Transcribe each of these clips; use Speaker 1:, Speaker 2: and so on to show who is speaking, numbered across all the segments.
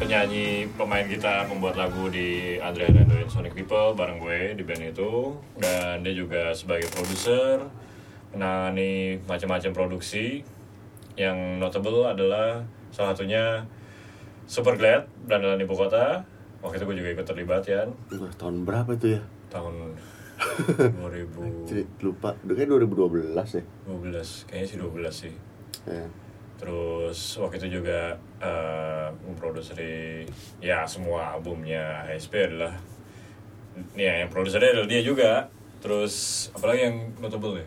Speaker 1: penyanyi pemain gitar membuat lagu di Adriana and Sonic People bareng gue di band itu dan dia juga sebagai produser menangani macam-macam produksi yang notable adalah salah satunya Super Glad Berandalan Ibu Kota waktu itu gue juga ikut terlibat ya
Speaker 2: Wah, tahun berapa itu ya?
Speaker 1: tahun
Speaker 2: Jadi
Speaker 1: 2012
Speaker 2: lupa, udah kayak 2012 ya.
Speaker 1: kayaknya sih 12 sih
Speaker 2: Ya.
Speaker 1: Terus waktu itu juga eh produseri ya semua albumnya HSP adalah ya yang produsernya adalah dia juga. Terus apalagi yang notable ya?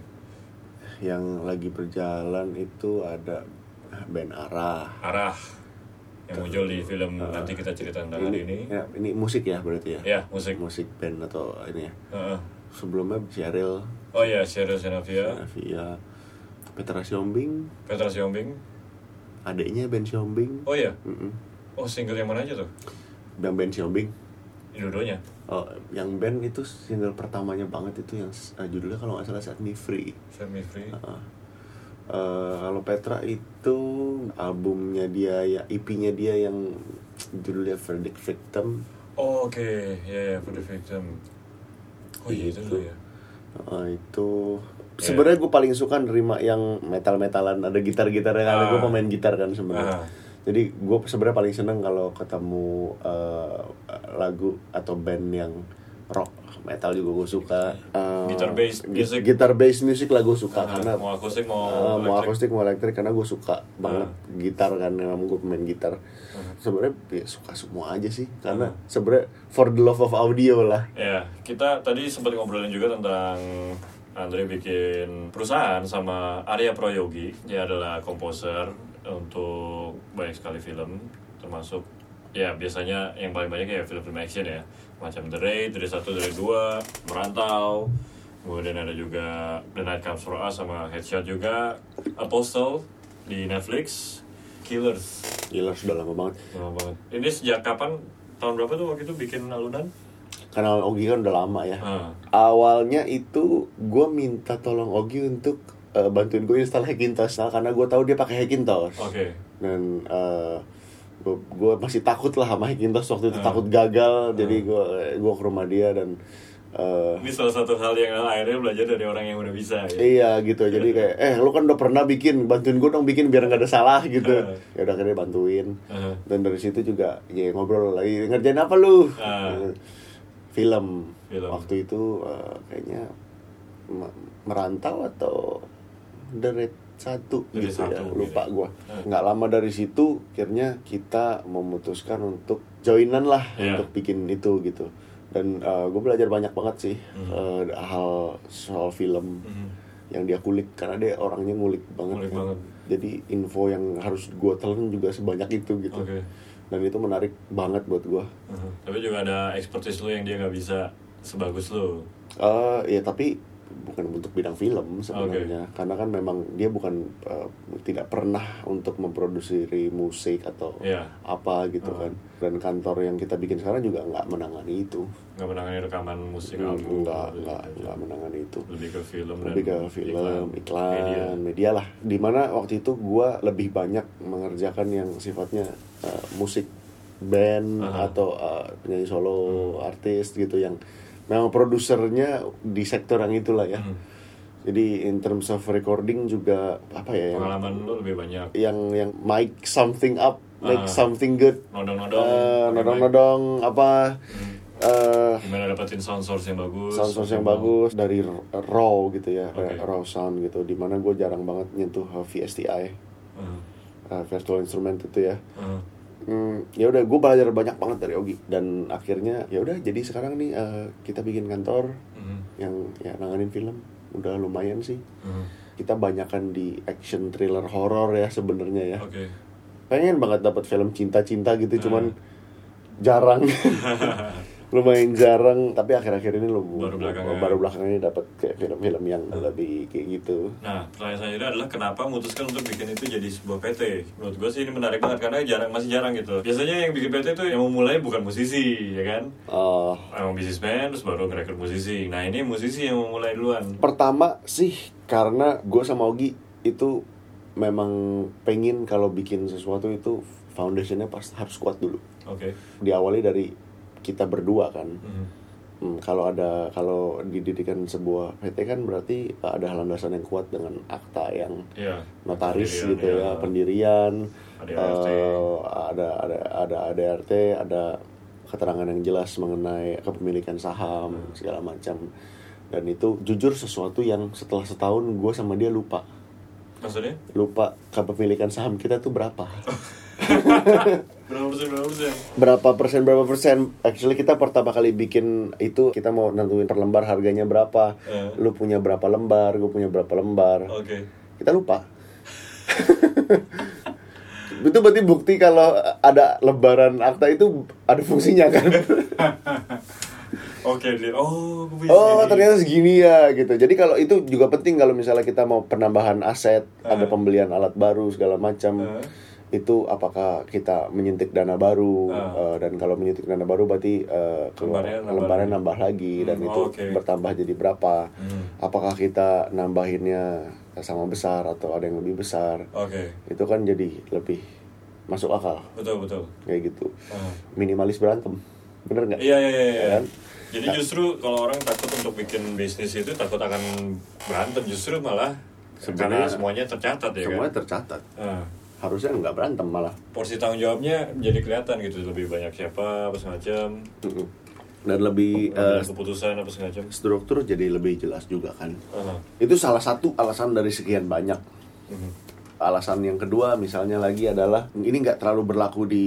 Speaker 2: Yang lagi berjalan itu ada band Arah.
Speaker 1: Arah yang muncul di film nanti kita cerita tentang hari ini.
Speaker 2: Ya, ini musik ya berarti ya?
Speaker 1: Ya, musik.
Speaker 2: Musik band atau ini ya.
Speaker 1: Heeh.
Speaker 2: Sebelumnya Cheryl,
Speaker 1: Oh iya, Sheryl Senavia,
Speaker 2: Avia, Petra Siombing,
Speaker 1: Petra Siombing.
Speaker 2: adiknya band Siombing.
Speaker 1: Oh iya.
Speaker 2: Mm-mm.
Speaker 1: Oh, single yang mana aja tuh?
Speaker 2: Yang band Siombing.
Speaker 1: Dua-duanya.
Speaker 2: Oh, yang band itu single pertamanya banget itu yang eh, judulnya kalau nggak salah Set Me Free.
Speaker 1: Set Me Free.
Speaker 2: Heeh. Ah. Eh, kalau Petra itu albumnya dia ya EP-nya dia yang judulnya Verdict Victim.
Speaker 1: Oh, oke. Ya, ya, for the victim. Oh iya itu dulu ya.
Speaker 2: Eh, itu
Speaker 1: Iya.
Speaker 2: sebenarnya gue paling suka nerima yang metal-metalan ada gitar-gitarnya karena gue
Speaker 1: Ah.
Speaker 2: pemain gitar kan sebenarnya.
Speaker 1: Ah.
Speaker 2: Jadi gue sebenarnya paling seneng kalau ketemu eh, lagu atau band yang rock metal juga gue suka. Eh,
Speaker 1: Guitar based
Speaker 2: gi-
Speaker 1: music.
Speaker 2: Guitar based music lah gue suka
Speaker 1: Ah,
Speaker 2: karena
Speaker 1: mau akustik mau
Speaker 2: Eh, mau
Speaker 1: elektrik.
Speaker 2: akustik mau elektrik karena gue suka banget gitar kan emang gue pemain gitar sebenarnya ya, suka semua aja sih karena sebenarnya for the love of audio lah
Speaker 1: Ya, kita tadi sempat ngobrolin juga tentang Andre bikin perusahaan sama Arya Proyogi. Dia adalah komposer untuk banyak sekali film, termasuk ya biasanya yang paling banyak ya film-film action ya, macam The Raid, dari satu, dari dua, Merantau, kemudian ada juga The Night Comes For Us sama Headshot juga, Apostle di Netflix, Killers.
Speaker 2: gila sudah lama banget
Speaker 1: Lama banget. Ini sejak kapan? Tahun berapa tuh waktu itu bikin alunan?
Speaker 2: karena Ogi kan udah lama ya
Speaker 1: Ah.
Speaker 2: awalnya itu gue minta tolong Ogi untuk eh, bantuin gue install Hackintosh nah, karena gue tahu dia pakai Hackintosh
Speaker 1: Oke.
Speaker 2: dan gue masih takut lah sama Hackintosh waktu itu takut gagal jadi gue gue ke rumah dia dan eh,
Speaker 1: Ini salah satu hal yang akhirnya belajar dari orang yang udah bisa ya.
Speaker 2: Iya gitu, jadi kayak eh lu kan udah pernah bikin, bantuin gue dong bikin biar nggak ada salah gitu. ya udah akhirnya bantuin.
Speaker 1: Heeh.
Speaker 2: Dan dari situ juga ya ngobrol lagi ngerjain apa lu? Gitu.
Speaker 1: Ah.
Speaker 2: Film.
Speaker 1: Film.
Speaker 2: Waktu itu eh, kayaknya me- merantau atau The Raid satu
Speaker 1: The Raid
Speaker 2: gitu ya,
Speaker 1: satu,
Speaker 2: lupa
Speaker 1: gitu.
Speaker 2: gua. Nggak lama dari situ akhirnya kita memutuskan untuk joinan lah
Speaker 1: Iya.
Speaker 2: untuk bikin itu gitu. Dan gue belajar banyak banget sih eh,
Speaker 1: Hmm.
Speaker 2: hal soal film
Speaker 1: Mhm.
Speaker 2: yang dia kulik karena dia orangnya ngulik
Speaker 1: Ngulik
Speaker 2: banget. kan.
Speaker 1: banget.
Speaker 2: Jadi info yang harus gua telan juga sebanyak itu gitu.
Speaker 1: Oke.
Speaker 2: Dan itu menarik banget buat gua.
Speaker 1: Mhm. Tapi juga ada expertise lu yang dia nggak bisa sebagus lu.
Speaker 2: eh ya tapi bukan untuk bidang film sebenarnya karena kan memang dia bukan eh, tidak pernah untuk memproduksi musik atau
Speaker 1: Iya.
Speaker 2: apa gitu kan dan kantor yang kita bikin sekarang juga nggak menangani itu
Speaker 1: Nggak menangani rekaman musik album.
Speaker 2: nggak nggak
Speaker 1: Iya,
Speaker 2: nggak menangani itu
Speaker 1: Lebih ke film
Speaker 2: lebih ke
Speaker 1: dan
Speaker 2: film iklan,
Speaker 1: media.
Speaker 2: media. lah dimana waktu itu gua lebih banyak mengerjakan yang sifatnya uh, musik band
Speaker 1: Aha. Hmm.
Speaker 2: atau uh, penyanyi solo artis gitu yang memang produsernya di sektor yang itulah ya
Speaker 1: Hmm.
Speaker 2: jadi in terms of recording juga apa ya Iya. yang
Speaker 1: Pengalaman lu lebih banyak.
Speaker 2: yang yang make something up make
Speaker 1: Ah.
Speaker 2: something good
Speaker 1: Nodong-nodong.
Speaker 2: Eh,
Speaker 1: pakai mic.
Speaker 2: nodong-nodong apa
Speaker 1: Hmm.
Speaker 2: eh
Speaker 1: Gimana dapetin sound source yang bagus.
Speaker 2: sound source yang bagus dari raw gitu ya
Speaker 1: Oke.
Speaker 2: raw sound gitu dimana gue jarang banget nyentuh uh, VSTI
Speaker 1: Mhm.
Speaker 2: uh, virtual instrument itu ya
Speaker 1: Mhm.
Speaker 2: Hmm, ya udah gue belajar banyak banget dari Ogi dan akhirnya ya udah jadi sekarang nih uh, kita bikin kantor
Speaker 1: Mhm.
Speaker 2: yang ya nanganin film udah lumayan sih
Speaker 1: Mhm.
Speaker 2: kita banyakan di action thriller horror ya sebenarnya ya
Speaker 1: Oke. Nah.
Speaker 2: pengen banget dapat film cinta-cinta gitu cuman jarang lumayan jarang tapi akhir-akhir ini lu
Speaker 1: Baru belakangan.
Speaker 2: baru belakangan ini dapat kayak film-film yang lebih kayak gitu
Speaker 1: Nah, pertanyaan selanjutnya adalah kenapa memutuskan untuk bikin itu jadi sebuah PT? Menurut gue sih ini menarik banget karena jarang masih jarang gitu. Biasanya yang bikin PT itu yang memulai bukan musisi, ya kan?
Speaker 2: Eh,
Speaker 1: Emang bisnismen terus baru ngerekrut musisi. Nah ini musisi yang memulai duluan.
Speaker 2: pertama sih karena gue sama Ogi itu memang pengen kalau bikin sesuatu itu foundationnya pas harus kuat dulu
Speaker 1: Oke.
Speaker 2: diawali dari kita berdua kan
Speaker 1: Mhm.
Speaker 2: Hmm, kalau ada kalau didirikan sebuah PT kan berarti ada landasan yang kuat dengan akta yang
Speaker 1: Iya.
Speaker 2: notaris
Speaker 1: Pendirian,
Speaker 2: gitu
Speaker 1: iya.
Speaker 2: ya pendirian
Speaker 1: ADRT.
Speaker 2: eh, ada ada ada ADRT ada keterangan yang jelas mengenai kepemilikan saham segala macam dan itu jujur sesuatu yang setelah setahun gue sama dia lupa
Speaker 1: Maksudnya?
Speaker 2: lupa kepemilikan saham kita tuh berapa
Speaker 1: Berapa persen? Berapa persen?
Speaker 2: berapa persen berapa persen actually kita pertama kali bikin itu kita mau nentuin per lembar harganya berapa
Speaker 1: Eh.
Speaker 2: lu punya berapa lembar gue punya berapa lembar
Speaker 1: Oke.
Speaker 2: kita lupa itu berarti bukti kalau ada lebaran akta itu ada fungsinya kan
Speaker 1: Oke, dia. Oh, gue bisa.
Speaker 2: oh ternyata segini ya gitu jadi kalau itu juga penting kalau misalnya kita mau penambahan aset ada pembelian alat baru segala macam
Speaker 1: Eh.
Speaker 2: itu apakah kita menyuntik dana baru eh, dan kalau menyuntik dana baru berarti eh, keluar-
Speaker 1: Lembarnya nambah
Speaker 2: lembarnya nambah lagi dan
Speaker 1: Hmm,
Speaker 2: itu
Speaker 1: oke.
Speaker 2: bertambah jadi berapa
Speaker 1: Hmm.
Speaker 2: apakah kita nambahinnya sama besar atau ada yang lebih besar
Speaker 1: Oke.
Speaker 2: itu kan jadi lebih masuk akal
Speaker 1: Betul, betul.
Speaker 2: kayak gitu
Speaker 1: Ah.
Speaker 2: minimalis berantem bener nggak
Speaker 1: Iya, iya, iya.
Speaker 2: Ya
Speaker 1: iya.
Speaker 2: kan?
Speaker 1: Jadi justru kalau orang takut untuk bikin bisnis itu takut akan berantem justru malah karena
Speaker 2: Sebenarnya-
Speaker 1: semuanya tercatat ya
Speaker 2: semuanya
Speaker 1: kan.
Speaker 2: tercatat
Speaker 1: Ah.
Speaker 2: harusnya nggak berantem malah
Speaker 1: porsi tanggung jawabnya jadi kelihatan gitu lebih banyak siapa apa semacam
Speaker 2: Mm-mm. dan lebih eh,
Speaker 1: pengambilan keputusan apa semacam.
Speaker 2: struktur jadi lebih jelas juga kan
Speaker 1: Ah.
Speaker 2: itu salah satu alasan dari sekian banyak
Speaker 1: Mhm.
Speaker 2: alasan yang kedua misalnya lagi adalah ini nggak terlalu berlaku di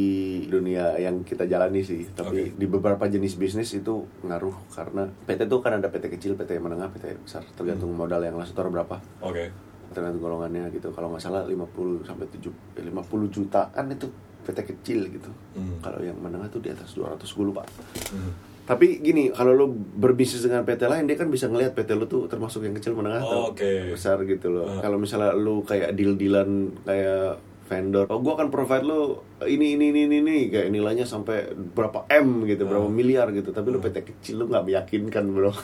Speaker 2: dunia yang kita jalani sih tapi di beberapa jenis bisnis itu ngaruh karena PT itu kan ada PT kecil PT menengah PT besar tergantung modal yang setor berapa
Speaker 1: Oke.
Speaker 2: tergantung golongannya gitu kalau nggak salah 50 sampai 7 eh, 50 jutaan itu PT kecil gitu
Speaker 1: Hmm.
Speaker 2: kalau yang menengah tuh di atas 200 gue lupa
Speaker 1: Mhm.
Speaker 2: tapi gini kalau lo berbisnis dengan PT lain dia kan bisa ngelihat PT lo tuh termasuk yang kecil menengah atau
Speaker 1: Oh, oke.
Speaker 2: besar gitu loh
Speaker 1: Ah.
Speaker 2: kalau misalnya lo kayak deal dealan kayak vendor oh gue akan provide lo ini ini ini ini, ini. kayak nilainya sampai berapa m gitu
Speaker 1: Ah.
Speaker 2: berapa miliar gitu tapi lo PT kecil lo nggak meyakinkan bro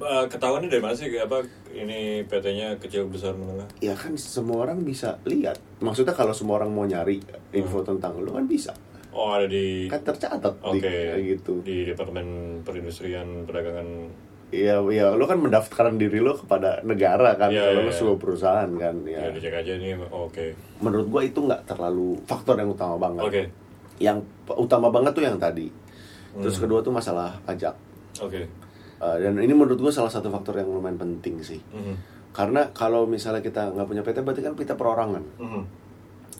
Speaker 1: Eh, ketahuannya dari mana sih apa ini PT-nya kecil besar menengah?
Speaker 2: ya kan semua orang bisa lihat maksudnya kalau semua orang mau nyari info tentang lo kan bisa
Speaker 1: Oh, ada Hmm. di
Speaker 2: kan tercatat
Speaker 1: Oke.
Speaker 2: di, kayak gitu
Speaker 1: Di Departemen Perindustrian Perdagangan.
Speaker 2: Iya, ya lo kan mendaftarkan diri lo kepada negara kan,
Speaker 1: Iya,
Speaker 2: kalau
Speaker 1: iya,
Speaker 2: lo
Speaker 1: iya.
Speaker 2: sebuah perusahaan kan, ya.
Speaker 1: Ya, dicek aja nih. Oke.
Speaker 2: Menurut gua itu nggak terlalu faktor yang utama banget.
Speaker 1: Oke.
Speaker 2: Yang p- utama banget tuh yang tadi. Terus
Speaker 1: Hmm.
Speaker 2: kedua tuh masalah pajak.
Speaker 1: Oke.
Speaker 2: Eh, dan ini menurut gua salah satu faktor yang lumayan penting sih.
Speaker 1: Mhm.
Speaker 2: Karena kalau misalnya kita nggak punya PT, berarti kan kita perorangan.
Speaker 1: Mhm.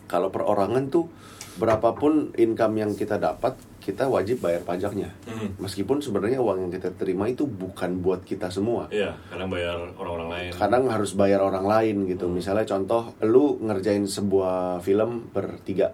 Speaker 2: Kalau perorangan tuh berapapun income yang kita dapat, kita wajib bayar pajaknya.
Speaker 1: Mhm.
Speaker 2: Meskipun sebenarnya uang yang kita terima itu bukan buat kita semua.
Speaker 1: Iya, kadang bayar orang-orang lain.
Speaker 2: kadang harus bayar orang lain gitu misalnya contoh lu ngerjain sebuah film bertiga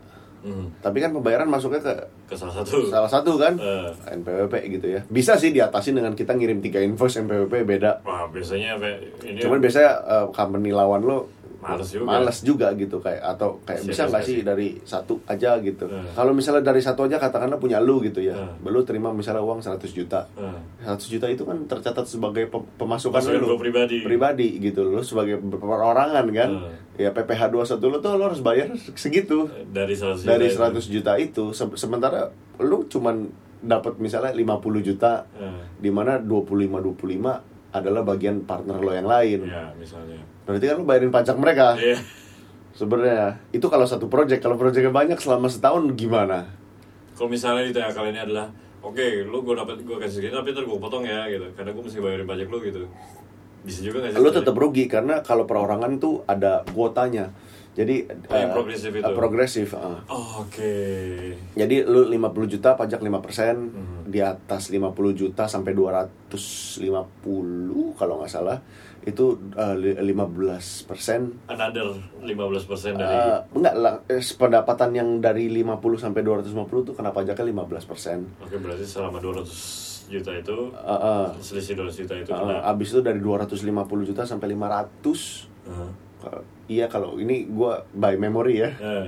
Speaker 1: Mhm.
Speaker 2: tapi kan pembayaran masuknya ke
Speaker 1: Ke salah satu.
Speaker 2: salah satu kan
Speaker 1: Eh.
Speaker 2: NPWP gitu ya bisa sih diatasi dengan kita ngirim tiga invoice NPWP beda
Speaker 1: Wah, biasanya apa- ya? ini
Speaker 2: cuman biasanya eh, company lawan lo
Speaker 1: Iya. Males juga.
Speaker 2: males juga gitu kayak atau kayak
Speaker 1: Siap
Speaker 2: bisa nggak sih dari satu aja gitu
Speaker 1: Eh.
Speaker 2: kalau misalnya dari satu aja katakanlah punya lu gitu ya
Speaker 1: Eh.
Speaker 2: lu terima misalnya uang 100 juta
Speaker 1: Eh.
Speaker 2: 100 juta itu kan tercatat sebagai pe- pemasukan
Speaker 1: Pemasukan
Speaker 2: lu
Speaker 1: gua pribadi.
Speaker 2: pribadi gitu lu sebagai perorangan kan
Speaker 1: Hmm.
Speaker 2: ya PPh 21 lu tuh lu harus bayar segitu
Speaker 1: dari 100 juta
Speaker 2: dari
Speaker 1: itu.
Speaker 2: 100 juta itu se- sementara lu cuman dapat misalnya 50 juta
Speaker 1: Eh,
Speaker 2: di mana 25 25 adalah bagian partner lo yang lain
Speaker 1: ya, misalnya.
Speaker 2: berarti kan lu bayarin pajak mereka
Speaker 1: Iya.
Speaker 2: sebenarnya itu kalau satu project kalau projectnya banyak selama setahun gimana
Speaker 1: Kalau misalnya ditanya kalian ini adalah Oke, lu gue dapat gue kasih segini tapi ntar gue potong ya gitu. Karena gue mesti bayarin pajak lu gitu. Bisa juga nggak sih?
Speaker 2: lo tetap rugi karena kalau perorangan tuh ada kuotanya jadi
Speaker 1: Oh, yang
Speaker 2: eh,
Speaker 1: progresif itu.
Speaker 2: eh, progresif eh.
Speaker 1: Oh, Oke.
Speaker 2: Jadi lu 50 juta pajak 5%
Speaker 1: Hmm.
Speaker 2: di atas 50 juta sampai 250 kalau nggak salah itu eh, li- 15% persen
Speaker 1: Another 15% dari
Speaker 2: enggak lah, eh, pendapatan yang dari 50 sampai 250 tuh kena pajaknya 15% persen Eh,
Speaker 1: Oke, berarti selama 200 juta itu selisih 200 juta itu kena.
Speaker 2: Gitu. Nah, abis itu dari 250 juta sampai 500
Speaker 1: Heeh.
Speaker 2: Kalau- iya kalau ini gua by memory ya
Speaker 1: Eh,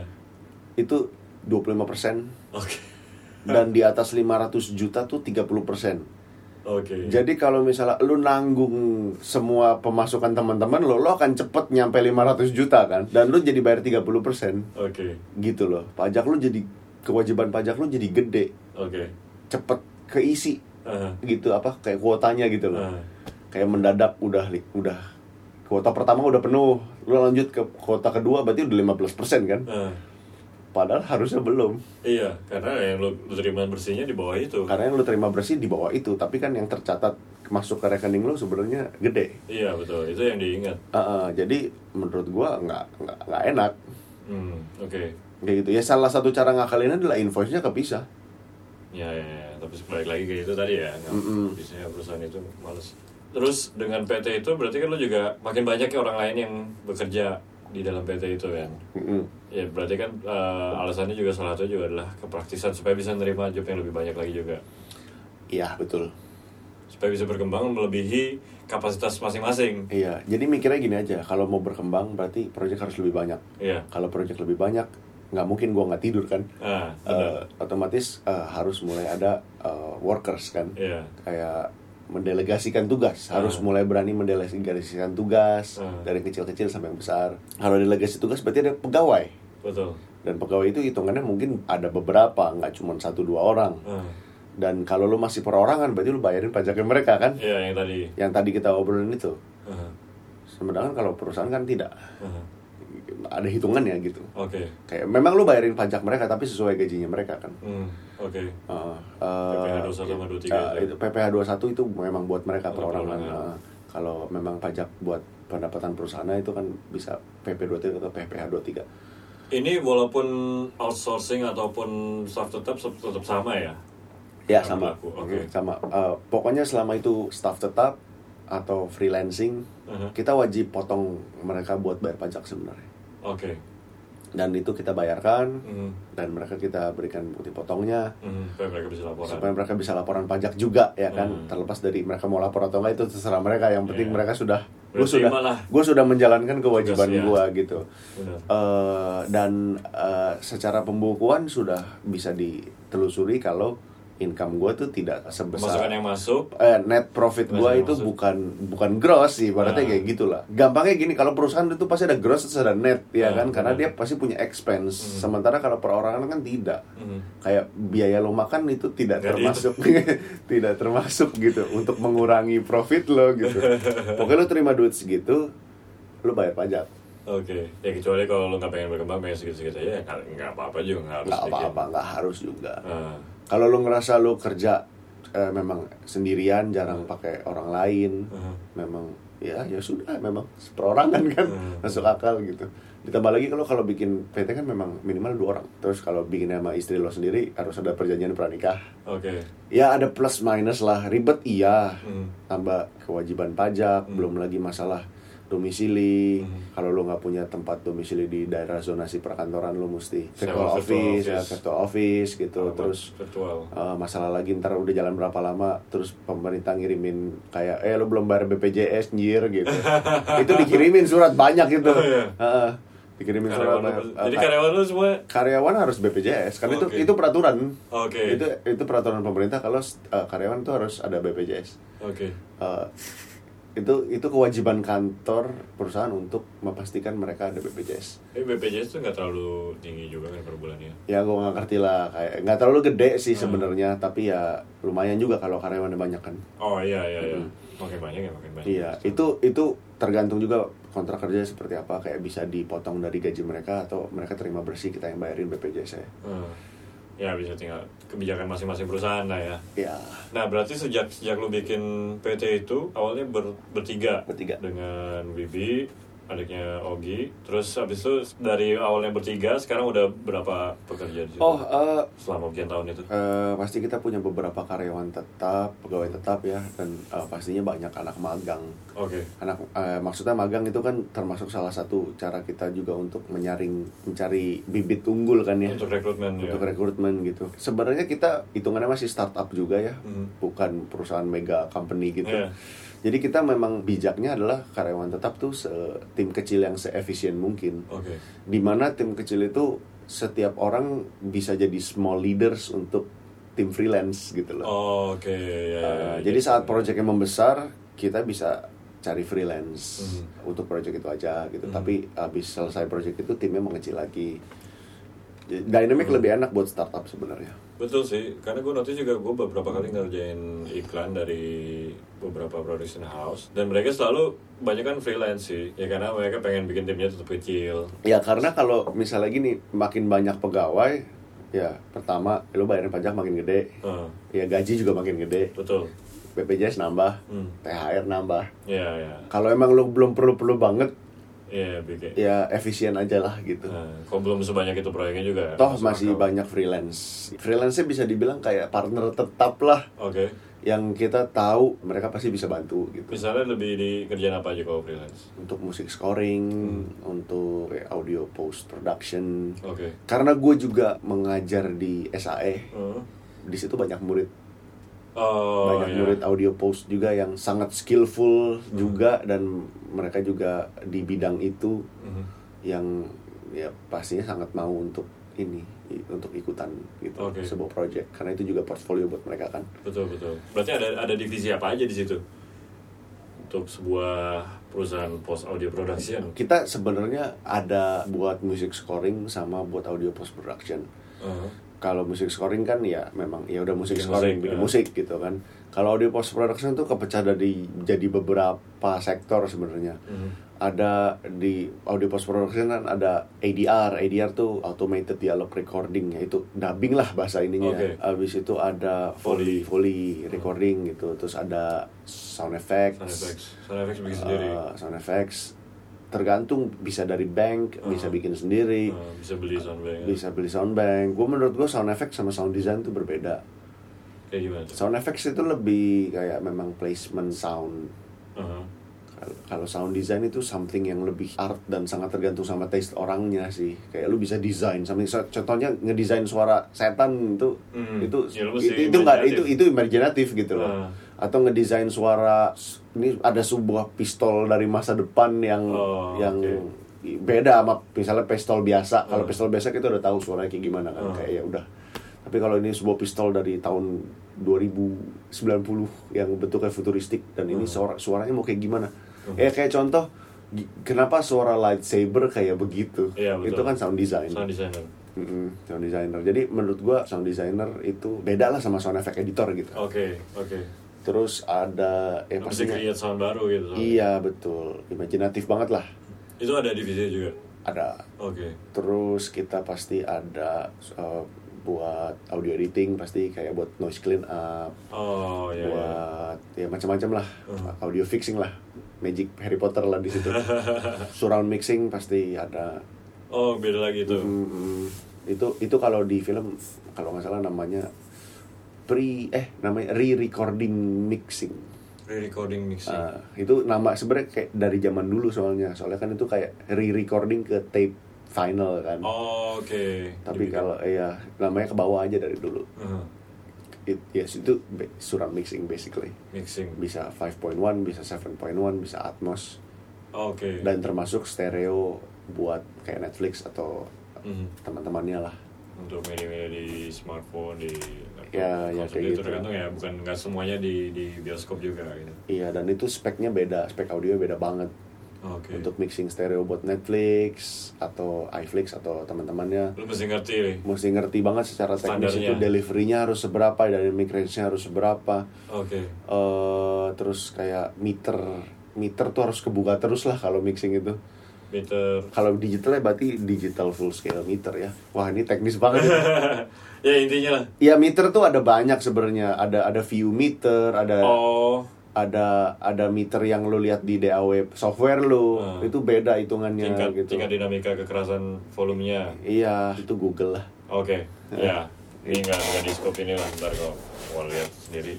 Speaker 2: itu 25%
Speaker 1: Oke.
Speaker 2: dan di atas 500 juta tuh 30%
Speaker 1: Oke.
Speaker 2: Jadi kalau misalnya lu nanggung semua pemasukan teman-teman lo, lo akan cepet nyampe 500 juta kan. Dan lu jadi bayar 30%
Speaker 1: Oke.
Speaker 2: gitu loh. Pajak lu jadi kewajiban pajak lu jadi gede,
Speaker 1: Oke.
Speaker 2: cepet keisi
Speaker 1: Ah,
Speaker 2: gitu apa kayak kuotanya gitu loh.
Speaker 1: ah.
Speaker 2: Kayak mendadak udah li- udah kuota pertama udah penuh. Lu lanjut ke kuota kedua berarti udah 15% kan.
Speaker 1: Ah.
Speaker 2: Padahal harusnya belum.
Speaker 1: Iya, karena yang lu, lu terima bersihnya di bawah itu.
Speaker 2: Karena yang lu terima bersih di bawah itu, tapi kan yang tercatat masuk ke rekening lu sebenarnya gede.
Speaker 1: Iya betul, itu yang diingat.
Speaker 2: Uh, uh, jadi menurut gua nggak nggak nggak enak
Speaker 1: Hmm, oke.
Speaker 2: kayak gitu ya salah satu cara ngakalinnya adalah invoice nya kepisah
Speaker 1: Ya, ya, ya, tapi balik lagi kayak itu tadi ya. nggak- Biasanya perusahaan itu males. Terus dengan PT itu berarti kan lu juga makin banyak ya orang lain yang bekerja di dalam PT itu kan.
Speaker 2: Mm-mm.
Speaker 1: Ya berarti kan eh, alasannya juga salah satu juga adalah kepraktisan supaya bisa nerima job yang lebih banyak lagi juga.
Speaker 2: iya betul
Speaker 1: Supaya bisa berkembang melebihi kapasitas masing-masing.
Speaker 2: iya jadi mikirnya gini aja kalau mau berkembang berarti project harus lebih banyak
Speaker 1: Iya.
Speaker 2: kalau project lebih banyak nggak mungkin gua nggak tidur kan
Speaker 1: Ah, benar.
Speaker 2: Uh, otomatis uh, harus mulai ada uh, workers kan
Speaker 1: Iya. Ah.
Speaker 2: kayak mendelegasikan tugas harus mulai berani mendelegasikan tugas
Speaker 1: Hmm.
Speaker 2: dari kecil-kecil sampai yang besar kalau delegasi tugas berarti ada pegawai
Speaker 1: Betul.
Speaker 2: dan pegawai itu hitungannya mungkin ada beberapa nggak cuma satu dua orang
Speaker 1: Ah,
Speaker 2: dan kalau lu masih perorangan berarti lu bayarin pajaknya mereka kan
Speaker 1: Iya yang tadi.
Speaker 2: yang tadi kita obrolin itu
Speaker 1: Ah,
Speaker 2: sebenarnya kalau perusahaan kan tidak
Speaker 1: ah.
Speaker 2: ada hitungannya gitu
Speaker 1: Oke.
Speaker 2: kayak memang lu bayarin pajak mereka tapi sesuai gajinya mereka kan
Speaker 1: Hmm, oke.
Speaker 2: Uh, uh,
Speaker 1: PPh 21 sama 23
Speaker 2: uh,
Speaker 1: itu.
Speaker 2: itu PPh 21 itu memang buat mereka
Speaker 1: Oh,
Speaker 2: perorangan
Speaker 1: perorangan.
Speaker 2: Uh, kalau memang pajak buat pendapatan perusahaannya itu kan bisa PP23 atau PPh 23
Speaker 1: Ini walaupun outsourcing ataupun staff tetap tetap sama ya.
Speaker 2: Ya
Speaker 1: Yang
Speaker 2: sama,
Speaker 1: berlaku, oke.
Speaker 2: sama. Eh, pokoknya selama itu staff tetap atau freelancing,
Speaker 1: Uh-huh.
Speaker 2: kita wajib potong mereka buat bayar pajak sebenarnya.
Speaker 1: Oke.
Speaker 2: Dan itu kita bayarkan
Speaker 1: Hmm,
Speaker 2: dan mereka kita berikan bukti potongnya
Speaker 1: hmm, supaya mereka bisa laporan.
Speaker 2: supaya mereka bisa laporan pajak juga ya kan.
Speaker 1: Hmm.
Speaker 2: Terlepas dari mereka mau lapor atau enggak itu terserah mereka. Yang penting
Speaker 1: Iya.
Speaker 2: mereka sudah, gue
Speaker 1: Berarti
Speaker 2: sudah,
Speaker 1: malah.
Speaker 2: gue sudah menjalankan kewajiban
Speaker 1: Tugas, ya.
Speaker 2: gue gitu.
Speaker 1: Benar.
Speaker 2: eh dan eh, secara pembukuan sudah bisa ditelusuri kalau income gue tuh tidak sebesar
Speaker 1: Masukan yang masuk.
Speaker 2: eh, net profit
Speaker 1: Maksudnya,
Speaker 2: gua itu
Speaker 1: maksud-
Speaker 2: bukan bukan gross sih, ibaratnya
Speaker 1: Nah.
Speaker 2: kayak gitulah. Gampangnya gini, kalau perusahaan itu pasti ada gross, terus ada net, ya
Speaker 1: Nah,
Speaker 2: kan? Karena
Speaker 1: benar.
Speaker 2: dia pasti punya expense.
Speaker 1: Hmm.
Speaker 2: Sementara kalau perorangan kan tidak.
Speaker 1: Hmm.
Speaker 2: Kayak biaya lo makan itu tidak
Speaker 1: Nggak
Speaker 2: termasuk, tidak termasuk gitu untuk mengurangi profit lo gitu. Pokoknya lo terima duit segitu, lo bayar pajak.
Speaker 1: Oke. Ya kecuali kalau lo nggak pengen berkembang, pengen sedikit-sedikit aja, ya nggak nggak apa-apa juga nggak harus gitu.
Speaker 2: Nggak
Speaker 1: sedikit.
Speaker 2: apa-apa, nggak harus juga.
Speaker 1: Ah,
Speaker 2: Kalau lo ngerasa lo kerja eh, memang sendirian, jarang
Speaker 1: Hmm.
Speaker 2: pakai orang lain,
Speaker 1: ah.
Speaker 2: memang ya ya sudah memang perorangan kan
Speaker 1: Hmm.
Speaker 2: masuk akal gitu ditambah lagi kalau kalau bikin PT kan memang minimal dua orang terus kalau bikin sama istri lo sendiri harus ada perjanjian pranikah
Speaker 1: Oke.
Speaker 2: ya ada plus minus lah ribet iya
Speaker 1: Hmm.
Speaker 2: tambah kewajiban pajak belum lagi masalah domisili
Speaker 1: Hmm.
Speaker 2: kalau lo nggak punya tempat domisili di daerah zonasi perkantoran lo mesti
Speaker 1: Sewa virtual
Speaker 2: virtual office ya,
Speaker 1: office.
Speaker 2: virtual office gitu
Speaker 1: Alamat
Speaker 2: terus
Speaker 1: virtual.
Speaker 2: Uh, masalah lagi ntar udah jalan berapa lama terus pemerintah ngirimin kayak eh lu belum bayar BPJS nyir gitu itu dikirimin surat banyak gitu
Speaker 1: Oh, iya.
Speaker 2: Heeh. dikirimin surat
Speaker 1: Karyawan
Speaker 2: banyak.
Speaker 1: lu-
Speaker 2: Uh,
Speaker 1: jadi
Speaker 2: ka-
Speaker 1: karyawan lu semua.
Speaker 2: karyawan harus BPJS karena
Speaker 1: Oke.
Speaker 2: kan itu itu peraturan
Speaker 1: Oke.
Speaker 2: itu itu peraturan pemerintah kalau uh, karyawan tuh harus ada BPJS
Speaker 1: Oke.
Speaker 2: Uh, itu itu kewajiban kantor perusahaan untuk memastikan mereka ada BPJS
Speaker 1: Eh, BPJS tuh nggak terlalu tinggi juga kan per bulannya.
Speaker 2: ya gue nggak ngerti lah kayak nggak terlalu gede sih sebenarnya tapi ya lumayan juga kalau karyawannya banyak kan
Speaker 1: Oh iya iya iya. Makin banyak ya makin banyak.
Speaker 2: Hmm. Iya, itu itu tergantung juga kontrak kerja seperti apa kayak bisa dipotong dari gaji mereka atau mereka terima bersih kita yang bayarin BPJS -nya.
Speaker 1: Hmm. Ya bisa tinggal kebijakan masing-masing perusahaan lah ya.
Speaker 2: Ya,
Speaker 1: Nah berarti sejak sejak lu bikin PT itu awalnya ber- bertiga
Speaker 2: Bertiga.
Speaker 1: dengan Bibi adiknya Ogi terus habis itu dari awalnya bertiga sekarang udah berapa pekerja di situ?
Speaker 2: oh eh,
Speaker 1: selama sekian tahun itu
Speaker 2: eh, pasti kita punya beberapa karyawan tetap, pegawai tetap ya dan eh, pastinya banyak anak magang.
Speaker 1: oke
Speaker 2: Anak eh, maksudnya magang itu kan termasuk salah satu cara kita juga untuk menyaring mencari bibit unggul kan ya.
Speaker 1: untuk rekrutmen ya
Speaker 2: untuk rekrutmen gitu. Sebenarnya kita hitungannya masih startup juga ya,
Speaker 1: Mhm.
Speaker 2: bukan perusahaan mega company gitu.
Speaker 1: Iya.
Speaker 2: Jadi kita memang bijaknya adalah karyawan tetap tuh se- tim kecil yang seefisien mungkin.
Speaker 1: oke
Speaker 2: Dimana tim kecil itu setiap orang bisa jadi small leaders untuk tim freelance gitu loh.
Speaker 1: Oh, Oke, ya, ya,
Speaker 2: Uh,
Speaker 1: ya.
Speaker 2: jadi saat proyeknya membesar, kita bisa cari freelance untuk proyek itu aja gitu. Tapi habis selesai proyek itu timnya mengecil lagi. Jadi, Dynamic lebih enak buat startup sebenarnya.
Speaker 1: Betul sih, karena gue notice juga gue beberapa kali ngerjain iklan dari beberapa production house dan mereka selalu banyak kan freelance sih, ya karena mereka pengen bikin timnya tetap kecil.
Speaker 2: Ya karena kalau misalnya gini, makin banyak pegawai, ya pertama lo bayarin pajak makin gede,
Speaker 1: Hmm,
Speaker 2: ya gaji juga makin gede,
Speaker 1: betul.
Speaker 2: BPJS nambah,
Speaker 1: Hmm.
Speaker 2: THR nambah.
Speaker 1: Iya, iya.
Speaker 2: Kalau emang lo belum perlu-perlu banget,
Speaker 1: Iya, bikin.
Speaker 2: ya efisien aja lah gitu.
Speaker 1: Nah, kok belum sebanyak itu proyeknya juga? ya?
Speaker 2: Toh
Speaker 1: masuk
Speaker 2: masih
Speaker 1: akal.
Speaker 2: banyak freelance. Freelance bisa dibilang kayak partner tetap lah
Speaker 1: Oke.
Speaker 2: yang kita tahu mereka pasti bisa bantu gitu.
Speaker 1: Misalnya lebih di kerjaan apa aja kalau freelance?
Speaker 2: Untuk musik scoring,
Speaker 1: Hmm.
Speaker 2: untuk kayak audio post production.
Speaker 1: Oke.
Speaker 2: Karena gue juga mengajar di SAE,
Speaker 1: Hmm.
Speaker 2: di situ banyak murid,
Speaker 1: Oh,
Speaker 2: banyak
Speaker 1: iya. Hmm.
Speaker 2: murid audio post juga yang sangat skillful juga dan mereka juga di bidang itu
Speaker 1: Mhm.
Speaker 2: yang ya pastinya sangat mau untuk ini i- untuk ikutan gitu
Speaker 1: Oke.
Speaker 2: sebuah project karena itu juga portfolio buat mereka kan
Speaker 1: Betul, betul. Berarti ada ada divisi apa aja di situ? Untuk sebuah perusahaan post audio production.
Speaker 2: kita sebenarnya ada buat music scoring sama buat audio post production Uh-huh.
Speaker 1: Heeh.
Speaker 2: kalau musik scoring kan ya memang ya udah musik
Speaker 1: Bikin
Speaker 2: scoring
Speaker 1: musik,
Speaker 2: bikin
Speaker 1: ya.
Speaker 2: musik gitu kan kalau audio post production tuh kepecah dari jadi beberapa sektor sebenarnya
Speaker 1: Mhm.
Speaker 2: ada di audio post production kan ada ADR ADR tuh automated dialogue recording ya itu dubbing lah bahasa ininya
Speaker 1: Oke.
Speaker 2: habis itu ada foley
Speaker 1: Foley.
Speaker 2: foley recording gitu terus ada sound effects,
Speaker 1: Sound effects. Sound effects bikin sendiri.
Speaker 2: eh, sound effects tergantung bisa dari bank bisa
Speaker 1: Uh-huh.
Speaker 2: bikin sendiri
Speaker 1: Eh, bisa beli sound bank.
Speaker 2: bisa beli sound bank gue menurut gue sound effect sama sound design tuh berbeda
Speaker 1: Kayak gimana? tuh?
Speaker 2: sound effects itu lebih kayak memang placement sound
Speaker 1: Heeh.
Speaker 2: Kal- kalau sound design itu something yang lebih art dan sangat tergantung sama taste orangnya sih kayak lu bisa desain something so- contohnya ngedesain suara setan itu
Speaker 1: Hmm.
Speaker 2: itu
Speaker 1: Ya, lu
Speaker 2: itu
Speaker 1: mesti
Speaker 2: itu nggak itu
Speaker 1: imajinatif.
Speaker 2: itu imajinatif gitu loh
Speaker 1: Ah.
Speaker 2: atau ngedesain suara ini ada sebuah pistol dari masa depan yang
Speaker 1: Oh,
Speaker 2: yang
Speaker 1: oke.
Speaker 2: beda sama misalnya pistol biasa
Speaker 1: Ah.
Speaker 2: kalau pistol biasa kita udah tahu suaranya kayak gimana kan
Speaker 1: Ah.
Speaker 2: kayak ya udah tapi kalau ini sebuah pistol dari tahun 2090 yang bentuknya futuristik dan ini
Speaker 1: Hmm.
Speaker 2: suara suaranya mau kayak gimana ya kayak contoh gi- kenapa suara lightsaber kayak begitu
Speaker 1: Iya, betul.
Speaker 2: itu kan sound design
Speaker 1: Sound designer.
Speaker 2: Mm-mm, sound designer jadi menurut gua sound designer itu beda lah sama sound effect editor gitu
Speaker 1: Oke, oke.
Speaker 2: terus ada ya
Speaker 1: Bisa
Speaker 2: pastinya
Speaker 1: create sound baru gitu.
Speaker 2: iya betul imajinatif banget lah
Speaker 1: Itu ada divisi juga.
Speaker 2: ada
Speaker 1: Oke.
Speaker 2: terus kita pasti ada uh, buat audio editing pasti kayak buat noise clean up
Speaker 1: Oh, ya. ya.
Speaker 2: buat ya macam-macam lah
Speaker 1: Uh-huh.
Speaker 2: audio fixing lah magic Harry Potter lah di situ surround mixing pasti ada
Speaker 1: Oh, beda lagi itu.
Speaker 2: Mm-mm. itu itu kalau di film kalau nggak salah namanya pre eh namanya re-recording mixing
Speaker 1: Re-recording mixing.
Speaker 2: Ah, itu nama sebenarnya kayak dari zaman dulu soalnya soalnya kan itu kayak re-recording ke tape final kan
Speaker 1: Oh, oke. Uh-huh.
Speaker 2: tapi
Speaker 1: Dibikin.
Speaker 2: kalau ya namanya ke bawah aja dari dulu
Speaker 1: Heeh.
Speaker 2: It- yes itu be- surround mixing basically
Speaker 1: mixing.
Speaker 2: bisa 5.1 bisa 7.1 bisa Atmos
Speaker 1: Oke.
Speaker 2: dan termasuk stereo buat kayak Netflix atau
Speaker 1: Mhm.
Speaker 2: teman-temannya lah
Speaker 1: Untuk media-media di smartphone, di laptop,
Speaker 2: Ya, ya,
Speaker 1: konsol,
Speaker 2: kayak
Speaker 1: itu
Speaker 2: gitu.
Speaker 1: tergantung ya, bukan nggak semuanya di di bioskop juga gitu.
Speaker 2: iya dan itu speknya beda spek audio beda banget
Speaker 1: Oke.
Speaker 2: untuk mixing stereo buat Netflix atau iFlix atau teman-temannya
Speaker 1: Lu mesti ngerti nih.
Speaker 2: mesti ngerti banget secara teknis
Speaker 1: Standarnya.
Speaker 2: itu delivery-nya harus seberapa dynamic range-nya harus seberapa
Speaker 1: Oke.
Speaker 2: eh terus kayak meter meter tuh harus kebuka terus lah kalau mixing itu
Speaker 1: Meter.
Speaker 2: kalau digitalnya berarti digital full scale meter ya wah ini teknis banget
Speaker 1: ya intinya lah.
Speaker 2: ya meter tuh ada banyak sebenarnya ada ada view meter ada
Speaker 1: Oh,
Speaker 2: ada ada meter yang lu lihat di DAW software lu
Speaker 1: Hmm.
Speaker 2: itu beda hitungannya
Speaker 1: tingkat
Speaker 2: gitu
Speaker 1: tingkat dinamika kekerasan volumenya.
Speaker 2: iya itu Google lah
Speaker 1: Oke. Ya. Ini nggak nggak di scope ini lah. Ntar kalau mau lihat sendiri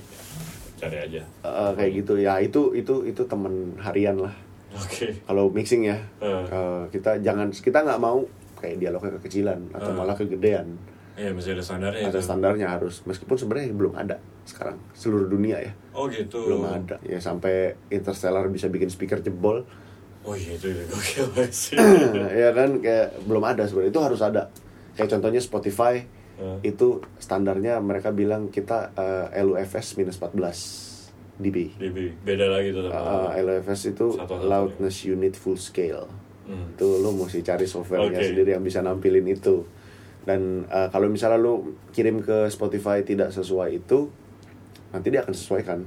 Speaker 1: cari aja.
Speaker 2: Eh, kayak gitu ya itu itu itu temen harian lah
Speaker 1: Oke.
Speaker 2: kalau mixing ya
Speaker 1: Hmm.
Speaker 2: eh, kita jangan kita nggak mau kayak dialognya kekecilan atau
Speaker 1: Hmm.
Speaker 2: malah kegedean
Speaker 1: Iya, mesti ada standarnya
Speaker 2: ada
Speaker 1: itu.
Speaker 2: standarnya harus meskipun sebenarnya belum ada sekarang seluruh dunia ya
Speaker 1: Oh gitu.
Speaker 2: belum ada ya sampai interstellar bisa bikin speaker jebol
Speaker 1: Oh iya itu ya gokil banget sih.
Speaker 2: ya kan kayak belum ada sebenarnya itu harus ada kayak contohnya Spotify
Speaker 1: Hmm.
Speaker 2: itu standarnya mereka bilang kita eh, LUFS minus 14 dB.
Speaker 1: DB beda lagi tuh
Speaker 2: Eh,
Speaker 1: sama
Speaker 2: LUFS itu
Speaker 1: Satu-satu.
Speaker 2: loudness unit full scale.
Speaker 1: Hmm.
Speaker 2: itu lu mesti cari softwarenya
Speaker 1: Oke.
Speaker 2: sendiri yang bisa nampilin itu dan eh, kalau misalnya lu kirim ke Spotify tidak sesuai itu nanti dia akan sesuaikan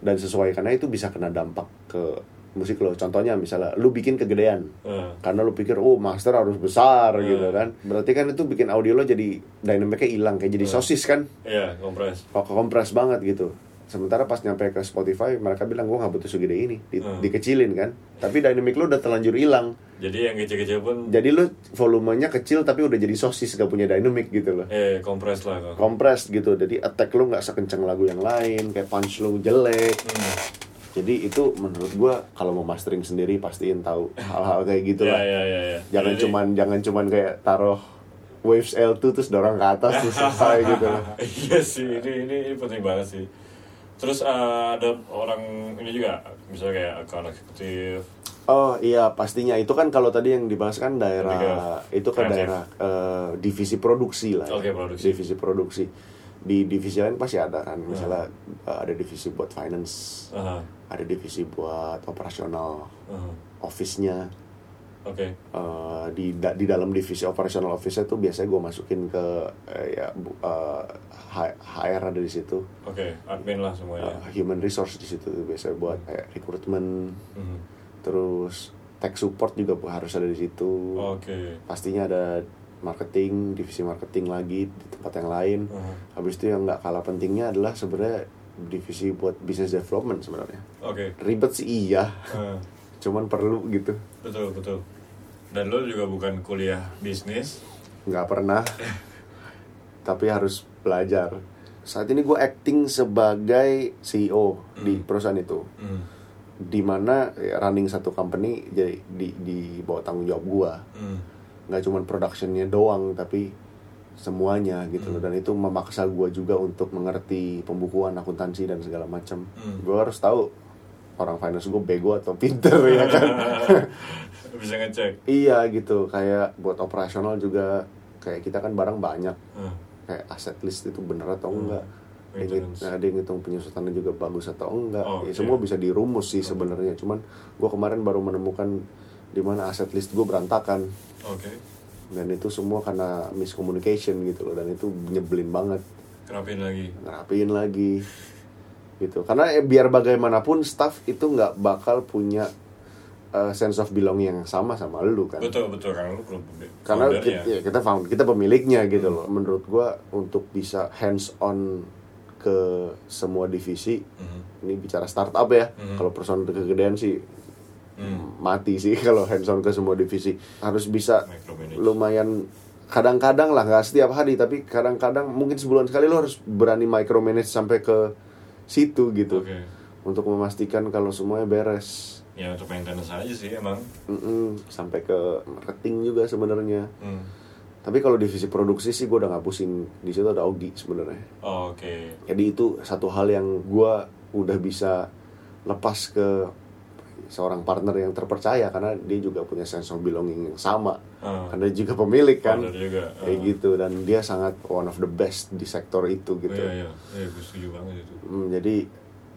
Speaker 2: dan sesuaikannya itu bisa kena dampak ke musik lo contohnya misalnya lu bikin kegedean
Speaker 1: Eh,
Speaker 2: karena lu pikir oh master harus besar
Speaker 1: Hmm.
Speaker 2: gitu kan berarti kan itu bikin audio lo jadi dynamicnya hilang kayak jadi sosis kan
Speaker 1: Iya, kompres.
Speaker 2: kok kompres banget gitu sementara pas nyampe ke Spotify mereka bilang gua nggak butuh segede ini Di-
Speaker 1: Hmm.
Speaker 2: dikecilin kan tapi dynamic lu udah terlanjur hilang
Speaker 1: Jadi yang kecil-kecil pun
Speaker 2: jadi lu volumenya kecil tapi udah jadi sosis gak punya dynamic gitu loh
Speaker 1: eh kompres lah kok.
Speaker 2: compressed gitu jadi attack lu nggak sekencang lagu yang lain kayak punch lu jelek
Speaker 1: Hmm.
Speaker 2: jadi itu menurut gua kalau mau mastering sendiri pastiin tahu hal-hal kayak gitu
Speaker 1: Ya,
Speaker 2: lah
Speaker 1: ya, ya, ya.
Speaker 2: jangan
Speaker 1: Jadi-
Speaker 2: cuman jangan cuman kayak taruh waves L2 terus dorong ke atas terus selesai gitu lah
Speaker 1: Iya sih, ini, ini ini penting banget sih. Terus eh, ada orang ini juga, misalnya kayak account eksekutif.
Speaker 2: oh iya pastinya itu kan kalau tadi yang dibahas kan daerah itu kan
Speaker 1: Kreatif.
Speaker 2: daerah eh, divisi produksi lah ya.
Speaker 1: Oke, produksi.
Speaker 2: divisi produksi di divisi lain pasti ada kan misalnya
Speaker 1: Iya.
Speaker 2: eh, ada divisi buat finance
Speaker 1: Aha,
Speaker 2: ada divisi buat operasional
Speaker 1: aha.
Speaker 2: office-nya
Speaker 1: ah, Oke,
Speaker 2: Eh, di da- di dalam divisi operasional office-nya tuh biasanya gue masukin ke eh, ya bu- eh, H- HR ada di situ
Speaker 1: oke, admin lah semuanya.
Speaker 2: Eh, human resource di situ tuh biasanya buat kayak recruitment
Speaker 1: Mhm.
Speaker 2: terus tech support juga bu- harus ada di situ
Speaker 1: Oke.
Speaker 2: pastinya ada marketing divisi marketing lagi di tempat yang lain
Speaker 1: Aha.
Speaker 2: habis itu yang nggak kalah pentingnya adalah sebenarnya divisi buat business development sebenarnya
Speaker 1: Oke.
Speaker 2: ribet sih iya
Speaker 1: Eh,
Speaker 2: cuman perlu gitu
Speaker 1: betul, betul. Dan lo juga bukan kuliah bisnis.
Speaker 2: nggak pernah tapi harus belajar saat ini gue acting sebagai CEO di perusahaan itu
Speaker 1: Hmm.
Speaker 2: di mana ya, running satu company jadi di di bawah tanggung jawab gue
Speaker 1: Hmm.
Speaker 2: nggak cuma productionnya doang tapi semuanya gitu
Speaker 1: Hmm.
Speaker 2: loh dan itu memaksa gue juga untuk mengerti pembukuan akuntansi dan segala macam
Speaker 1: Hmm.
Speaker 2: gue harus tahu orang finance gue bego atau pinter ya kan
Speaker 1: Bisa ngecek.
Speaker 2: Iya gitu, kayak buat operasional juga kayak kita kan barang banyak,
Speaker 1: Ah,
Speaker 2: kayak aset list itu bener atau enggak. Dia ngit-
Speaker 1: Hmm. maintenance.
Speaker 2: nah, dia ngitung penyusutannya juga bagus atau enggak.
Speaker 1: Oh,
Speaker 2: ya,
Speaker 1: iya.
Speaker 2: semua bisa dirumus sih sebenarnya. Cuman gua kemarin baru menemukan di mana aset list gue berantakan
Speaker 1: Oke.
Speaker 2: dan itu semua karena miscommunication gitu loh dan itu nyebelin banget
Speaker 1: Terapin lagi.
Speaker 2: ngerapiin lagi gitu karena ya, biar bagaimanapun staff itu nggak bakal punya eh, sense of belonging yang sama sama lu kan
Speaker 1: Betul, betul. Karena lo belum
Speaker 2: karena
Speaker 1: foundernya. Hmm.
Speaker 2: kita, ya, kita found kita pemiliknya gitu loh menurut gua untuk bisa hands on ke semua divisi
Speaker 1: Mhm.
Speaker 2: ini bicara startup ya
Speaker 1: Hmm.
Speaker 2: kalau perusahaan kegedean sih
Speaker 1: Hmm.
Speaker 2: mati sih kalau hands on ke semua divisi harus bisa
Speaker 1: Micromanage.
Speaker 2: lumayan kadang-kadang lah nggak setiap hari tapi kadang-kadang mungkin sebulan sekali lo harus berani micromanage sampai ke situ gitu
Speaker 1: Oke.
Speaker 2: untuk memastikan kalau semuanya beres
Speaker 1: Ya untuk maintenance aja sih emang.
Speaker 2: Mm-mm, sampai ke marketing juga sebenarnya
Speaker 1: Hmm.
Speaker 2: Tapi kalau divisi produksi sih gue udah nggak pusing di situ ada Ogi sebenarnya.
Speaker 1: Oke.
Speaker 2: Jadi itu satu hal yang gue udah bisa lepas ke seorang partner yang terpercaya karena dia juga punya sense of belonging yang sama.
Speaker 1: Ah,
Speaker 2: Karena dia juga pemilik kan.
Speaker 1: founder juga.
Speaker 2: Kayak gitu dan dia sangat one of the best di sektor itu
Speaker 1: gitu.
Speaker 2: gitu.
Speaker 1: Iya iya. Iya gue setuju banget itu.
Speaker 2: Hmm, jadi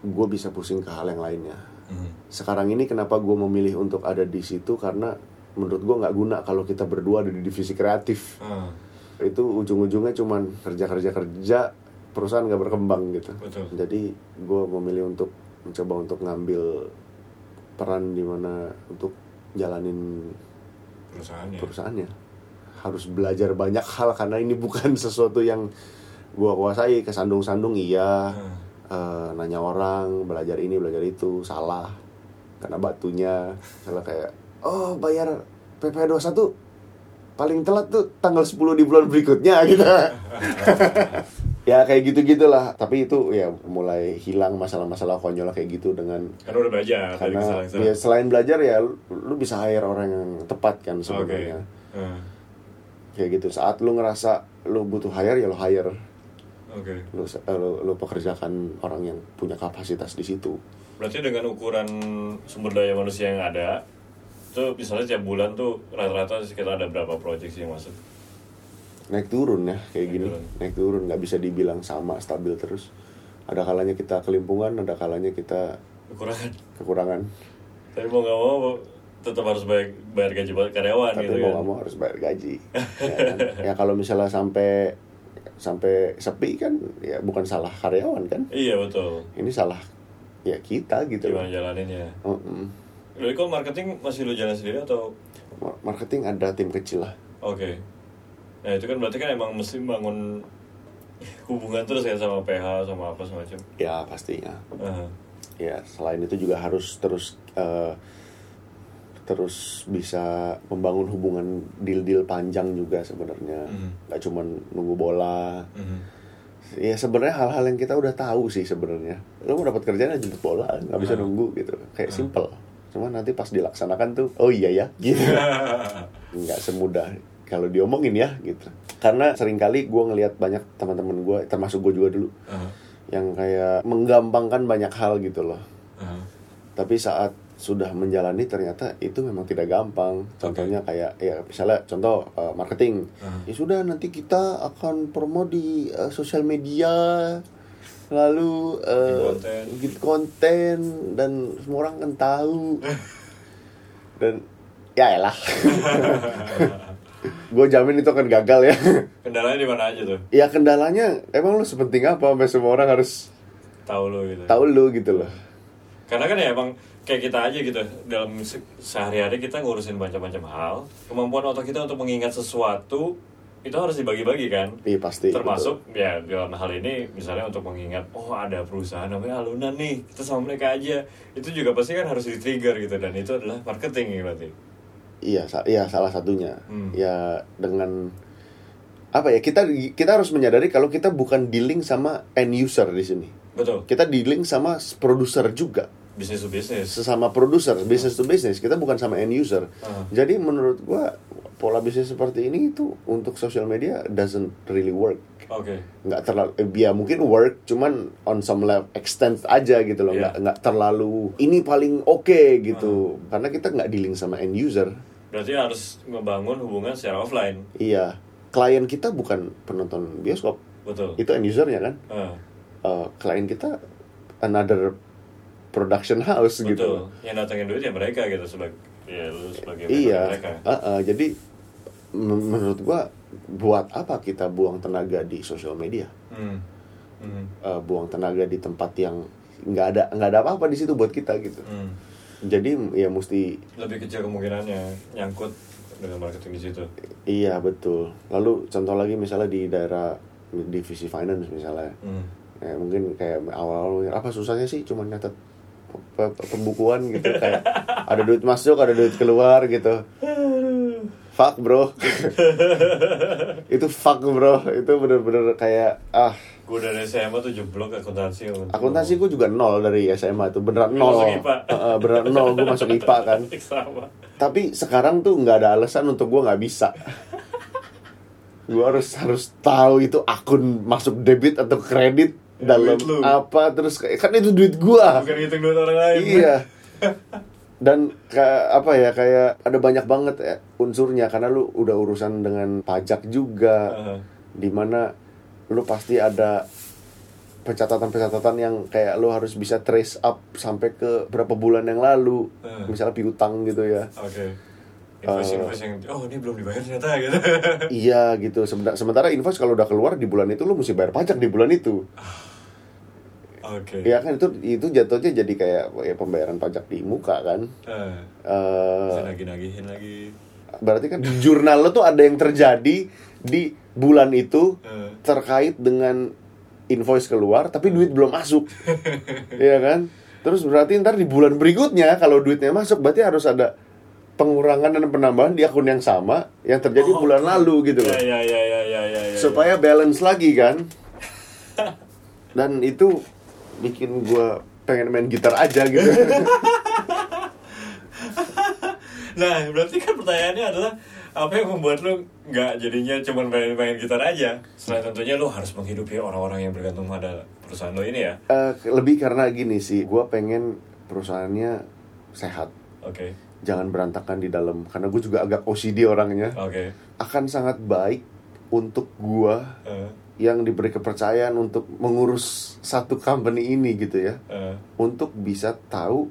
Speaker 2: gue bisa pusing ke hal yang lainnya
Speaker 1: Mhm.
Speaker 2: sekarang ini kenapa gue memilih untuk ada di situ karena menurut gue nggak guna kalau kita berdua ada di divisi kreatif
Speaker 1: Ah,
Speaker 2: itu ujung-ujungnya cuman kerja kerja kerja perusahaan nggak berkembang gitu
Speaker 1: Betul.
Speaker 2: jadi gue memilih untuk mencoba untuk ngambil peran di mana untuk jalanin
Speaker 1: perusahaannya.
Speaker 2: perusahaannya harus belajar banyak hal karena ini bukan sesuatu yang gue kuasai kesandung-sandung iya
Speaker 1: Ah,
Speaker 2: Eh, nanya orang belajar ini belajar itu salah karena batunya salah kayak oh bayar PP21 paling telat tuh tanggal 10 di bulan berikutnya gitu ya kayak gitu gitulah tapi itu ya mulai hilang masalah-masalah konyol kayak gitu dengan
Speaker 1: Karena Kan udah belajar dari
Speaker 2: karena
Speaker 1: kesalahan.
Speaker 2: ya, selain belajar ya lu, lu bisa hire orang yang tepat kan
Speaker 1: Oke.
Speaker 2: sebenarnya
Speaker 1: Ah,
Speaker 2: kayak gitu saat lu ngerasa lu butuh hire ya lu hire
Speaker 1: Oke.
Speaker 2: lu, eh, lu, lu pekerjakan orang yang punya kapasitas di situ
Speaker 1: Berarti dengan ukuran sumber daya manusia yang ada, itu misalnya tiap bulan tuh rata-rata sekitar ada berapa project sih yang masuk?
Speaker 2: naik turun ya kayak
Speaker 1: Naik
Speaker 2: gini
Speaker 1: turun.
Speaker 2: naik turun nggak bisa dibilang sama stabil terus ada kalanya kita kelimpungan ada kalanya kita
Speaker 1: kekurangan
Speaker 2: kekurangan
Speaker 1: tapi mau nggak mau tetap harus bayar, bayar gaji buat karyawan
Speaker 2: tapi
Speaker 1: gitu
Speaker 2: mau
Speaker 1: kan
Speaker 2: nggak mau harus bayar gaji ya, kan? Ya, kalau misalnya sampai sampai sepi kan ya bukan salah karyawan kan
Speaker 1: iya betul
Speaker 2: ini salah ya kita gitu
Speaker 1: gimana
Speaker 2: loh
Speaker 1: jalaninnya
Speaker 2: Mm-mm.
Speaker 1: Jadi kalau marketing masih lu jalan sendiri atau
Speaker 2: Mar- marketing ada tim kecil lah
Speaker 1: oke nah itu kan berarti kan emang mesti bangun hubungan terus kan sama PH sama apa semacam
Speaker 2: ya pastinya
Speaker 1: Aha.
Speaker 2: ya selain itu juga harus terus eh, terus bisa membangun hubungan deal deal panjang juga sebenarnya
Speaker 1: Mhm.
Speaker 2: nggak cuma nunggu bola
Speaker 1: Mhm.
Speaker 2: ya sebenarnya hal-hal yang kita udah tahu sih sebenarnya lo mau dapat kerjaan aja jemput bola nggak bisa
Speaker 1: Mhm.
Speaker 2: nunggu gitu kayak simple cuman nanti pas dilaksanakan tuh oh iya ya gitu nggak semudah kalau diomongin ya gitu karena seringkali gue ngelihat banyak teman-teman gue termasuk gue juga dulu
Speaker 1: Aha.
Speaker 2: yang kayak menggampangkan banyak hal gitu loh
Speaker 1: Aha.
Speaker 2: tapi saat sudah menjalani ternyata itu memang tidak gampang contohnya kayak ya misalnya contoh eh, marketing
Speaker 1: Hmm.
Speaker 2: ya sudah nanti kita akan promo di eh, sosial media lalu eh,
Speaker 1: konten.
Speaker 2: bikin konten dan semua orang kan tahu dan ya elah gue jamin itu akan gagal ya
Speaker 1: kendalanya di mana aja tuh
Speaker 2: ya kendalanya emang lu sepenting apa sampai semua orang harus
Speaker 1: tahu lo gitu
Speaker 2: tahu lu gitu loh
Speaker 1: karena kan ya emang kayak kita aja gitu dalam se- sehari-hari kita ngurusin macam-macam hal kemampuan otak kita untuk mengingat sesuatu itu harus dibagi-bagi kan
Speaker 2: iya pasti betul.
Speaker 1: termasuk ya dalam hal ini misalnya untuk mengingat oh ada perusahaan namanya Alunan nih kita sama mereka aja itu juga pasti kan harus di trigger gitu dan itu adalah marketing ya berarti
Speaker 2: Iya, sa- iya salah satunya.
Speaker 1: Hmm.
Speaker 2: Ya dengan apa ya kita kita harus menyadari kalau kita bukan dealing sama end user di sini.
Speaker 1: betul
Speaker 2: Kita dealing sama s- produser juga,
Speaker 1: bisnis to bisnis
Speaker 2: sesama produser, business to business. Kita bukan sama end user.
Speaker 1: Ah.
Speaker 2: Jadi menurut gua pola bisnis seperti ini itu untuk social media doesn't really work.
Speaker 1: oke
Speaker 2: Nggak terlalu eh, ya mungkin work cuman on some level extent aja gitu loh.
Speaker 1: Iya.
Speaker 2: Nggak nggak terlalu ini paling oke gitu.
Speaker 1: Hmm.
Speaker 2: Karena kita nggak dealing sama end user.
Speaker 1: berarti harus membangun hubungan secara offline
Speaker 2: Iya, klien kita bukan penonton bioskop,
Speaker 1: betul
Speaker 2: itu end usernya kan.
Speaker 1: Ah,
Speaker 2: Eh, klien kita another production house gitu.
Speaker 1: betul yang datangin duit ya mereka gitu sebagai ya lu sebagai
Speaker 2: Iya.
Speaker 1: mereka
Speaker 2: Eh, eh, jadi men- menurut gua buat apa kita buang tenaga di sosial media,
Speaker 1: Hmm. Hmm.
Speaker 2: Eh, buang tenaga di tempat yang nggak ada nggak ada apa-apa di situ buat kita gitu.
Speaker 1: Hmm.
Speaker 2: Jadi ya mesti
Speaker 1: lebih kecil kemungkinannya nyangkut dengan marketing di situ
Speaker 2: iya betul. Lalu contoh lagi misalnya di daerah divisi finance misalnya.
Speaker 1: Hmm.
Speaker 2: ya mungkin kayak awal-awal mikir, apa susahnya sih cuma nyatet pe- pe- pembukuan gitu kayak ada duit masuk ada duit keluar gitu fuck bro itu fuck bro itu bener-bener kayak ah
Speaker 1: gue dari SMA tuh jeblok akuntansi
Speaker 2: akuntansi gue juga nol dari SMA itu beneran
Speaker 1: Lu
Speaker 2: nol
Speaker 1: Oh. masuk IPA.
Speaker 2: Heeh, beneran nol gue masuk IPA kan
Speaker 1: sama
Speaker 2: tapi sekarang tuh nggak ada alasan untuk gue nggak bisa gue harus harus tahu itu akun masuk debit atau kredit
Speaker 1: Ya,
Speaker 2: dalam
Speaker 1: duit lu.
Speaker 2: apa terus kayak- kan itu duit gue
Speaker 1: bukan ngitung duit orang lain
Speaker 2: iya dan kayak apa ya kayak ada banyak banget ya unsurnya karena lu udah urusan dengan pajak juga
Speaker 1: Heeh.
Speaker 2: dimana lu pasti ada pencatatan-pencatatan yang kayak lu harus bisa trace up sampai ke berapa bulan yang lalu
Speaker 1: Hmm.
Speaker 2: misalnya piutang gitu ya
Speaker 1: oke
Speaker 2: Eh.
Speaker 1: invoice invoice yang oh ini belum dibayar ternyata gitu
Speaker 2: Iya gitu. Sementara, sementara invoice kalau udah keluar di bulan itu lu mesti bayar pajak di bulan itu.
Speaker 1: Iya. oke
Speaker 2: Ya kan itu itu jatuhnya jadi kayak ya, pembayaran pajak di muka kan.
Speaker 1: Eh,
Speaker 2: Eh,
Speaker 1: bisa nagih nagihin lagi
Speaker 2: berarti kan di jurnal lu tuh ada yang terjadi di bulan itu
Speaker 1: Eh.
Speaker 2: terkait dengan invoice keluar tapi duit belum masuk. Iya kan? Terus berarti ntar di bulan berikutnya kalau duitnya masuk berarti harus ada pengurangan dan penambahan di akun yang sama yang terjadi
Speaker 1: Oh,
Speaker 2: bulan
Speaker 1: oke.
Speaker 2: lalu gitu loh.
Speaker 1: ya ya ya ya ya ya, ya.
Speaker 2: supaya balance lagi kan dan itu bikin gua pengen main gitar aja gitu
Speaker 1: nah berarti kan pertanyaannya adalah apa yang membuat lu nggak jadinya cuman main-main gitar aja selain tentunya lu harus menghidupi orang-orang yang bergantung pada perusahaan lu ini ya
Speaker 2: Eh, lebih karena gini sih gua pengen perusahaannya sehat
Speaker 1: oke
Speaker 2: jangan berantakan di dalam karena gue juga agak OCD orangnya
Speaker 1: oke
Speaker 2: akan sangat baik untuk gua
Speaker 1: eh,
Speaker 2: yang diberi kepercayaan untuk mengurus satu company ini gitu ya
Speaker 1: eh.
Speaker 2: untuk bisa tahu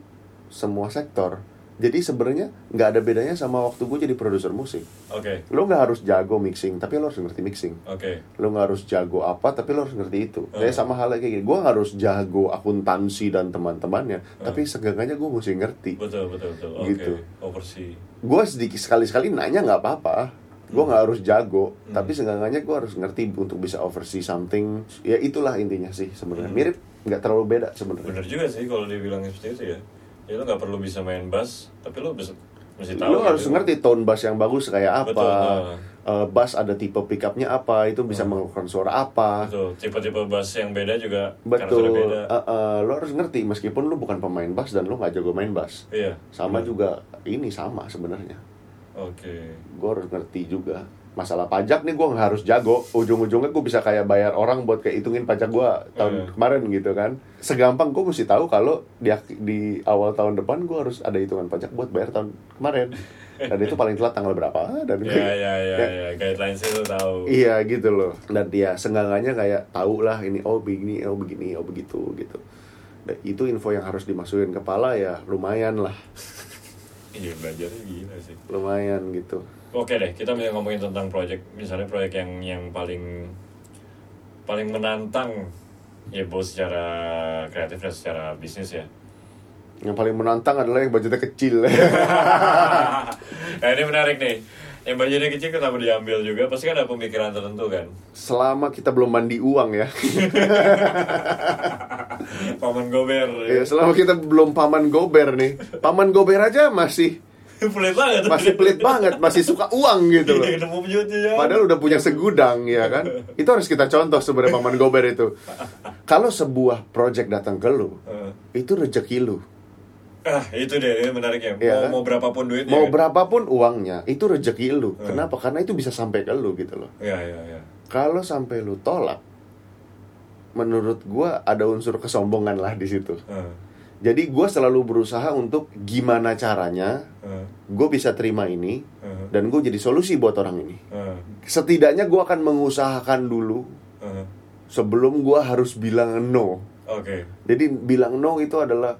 Speaker 2: semua sektor. Jadi sebenarnya nggak ada bedanya sama waktu gue jadi produser musik.
Speaker 1: oke
Speaker 2: Lo nggak harus jago mixing, tapi lo harus ngerti mixing.
Speaker 1: oke
Speaker 2: Lo nggak harus jago apa, tapi lo harus ngerti itu.
Speaker 1: Eh.
Speaker 2: Kayak sama halnya kayak gini, gue nggak harus jago akuntansi dan teman-temannya,
Speaker 1: Hmm.
Speaker 2: tapi seenggaknya gue mesti ngerti.
Speaker 1: betul betul betul oke
Speaker 2: Gitu.
Speaker 1: oversee
Speaker 2: Gue sedikit sekali-sekali nanya nggak apa-apa. Gue nggak harus jago,
Speaker 1: Hmm.
Speaker 2: tapi seenggaknya gue harus ngerti untuk bisa oversee something. Ya itulah intinya sih
Speaker 1: Hmm.
Speaker 2: sebenarnya. Mirip, nggak terlalu beda sebenarnya.
Speaker 1: bener juga sih kalau dibilang seperti itu ya ya lo nggak perlu bisa main bass tapi lo bisa mesti tahu
Speaker 2: lu harus
Speaker 1: gitu.
Speaker 2: ngerti tone bass yang bagus kayak apa
Speaker 1: Betul, nah. Hmm.
Speaker 2: eh, bass ada tipe pickupnya apa itu bisa mengeluarkan suara apa
Speaker 1: betul tipe-tipe bass yang beda juga karena
Speaker 2: betul
Speaker 1: sudah beda
Speaker 2: Eh, eh, lu harus ngerti meskipun lu bukan pemain bass dan lu nggak jago main bass
Speaker 1: iya
Speaker 2: sama juga ini sama sebenarnya
Speaker 1: oke
Speaker 2: gue harus ngerti juga masalah pajak nih gue nggak harus jago ujung-ujungnya gue bisa kayak bayar orang buat kayak hitungin pajak gue tahun
Speaker 1: Iya.
Speaker 2: kemarin gitu kan segampang gue mesti tahu kalau di ak- di awal tahun depan gue harus ada hitungan pajak buat bayar tahun kemarin dan itu paling telat tanggal berapa dan
Speaker 1: ya ya ya ya guidelines itu tahu
Speaker 2: Iya gitu loh. Dan dia senggangannya kayak tahu lah ini oh begini, oh begini, oh begitu gitu. Dan itu info yang harus dimasukin kepala ya lumayan lah,
Speaker 1: iya belajarnya gila sih
Speaker 2: lumayan gitu.
Speaker 1: Oke deh, kita mau ngomongin tentang project, misalnya project yang yang paling paling menantang ya bos secara kreatif dan secara bisnis ya.
Speaker 2: Yang paling menantang adalah yang budgetnya kecil.
Speaker 1: nah ini menarik nih. Yang budgetnya kecil kenapa diambil juga? Pasti kan ada pemikiran tertentu kan.
Speaker 2: Selama kita belum mandi uang ya.
Speaker 1: Paman Gober.
Speaker 2: Ya, selama kita belum paman gober nih. Paman gober aja masih
Speaker 1: pelit banget.
Speaker 2: masih pelit banget, masih suka uang gitu loh.
Speaker 1: Iya, ketemu penyutnya ya.
Speaker 2: Padahal udah punya segudang ya kan. Itu harus kita contoh sebenarnya Paman Gober itu. Kalau sebuah project datang ke lu,
Speaker 1: Eh.
Speaker 2: itu rezeki lu.
Speaker 1: Ah, itu deh, ini menariknya.
Speaker 2: Iya kan?
Speaker 1: mau, mau berapapun duitnya.
Speaker 2: Mau
Speaker 1: kan?
Speaker 2: berapapun uangnya, itu rezeki lu. Kenapa? Karena itu bisa sampai ke lu gitu loh.
Speaker 1: Iya, iya, iya.
Speaker 2: Kalau sampai lu tolak, menurut gua ada unsur kesombongan lah di situ.
Speaker 1: Eh,
Speaker 2: Jadi gua selalu berusaha untuk gimana caranya
Speaker 1: eh,
Speaker 2: gue bisa terima ini
Speaker 1: eh,
Speaker 2: dan gue jadi solusi buat orang ini.
Speaker 1: eh,
Speaker 2: Setidaknya gua akan mengusahakan dulu
Speaker 1: eh.
Speaker 2: sebelum gua harus bilang no.
Speaker 1: Oke,
Speaker 2: Jadi bilang no itu adalah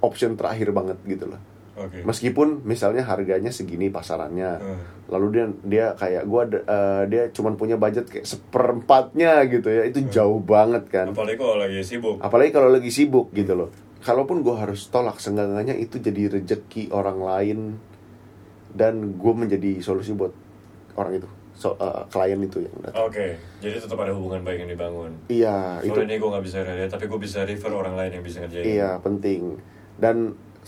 Speaker 2: option terakhir banget gitu loh.
Speaker 1: oke.
Speaker 2: Meskipun misalnya harganya segini pasarannya,
Speaker 1: Eh.
Speaker 2: lalu dia dia kayak gua ada- eh, dia cuman punya budget kayak seperempatnya gitu ya, itu jauh banget kan.
Speaker 1: Apalagi kalau lagi sibuk.
Speaker 2: Apalagi kalau lagi sibuk gitu loh. Kalaupun gua harus tolak, seenggaknya itu jadi rejeki orang lain dan gue menjadi solusi buat orang itu, so, eh, klien itu yang datang.
Speaker 1: Oke, jadi tetap ada hubungan baik yang dibangun.
Speaker 2: Iya, itu
Speaker 1: Soalnya ini gue nggak bisa kerja, tapi gue bisa refer orang lain yang bisa ngerjain.
Speaker 2: Iya, penting. Dan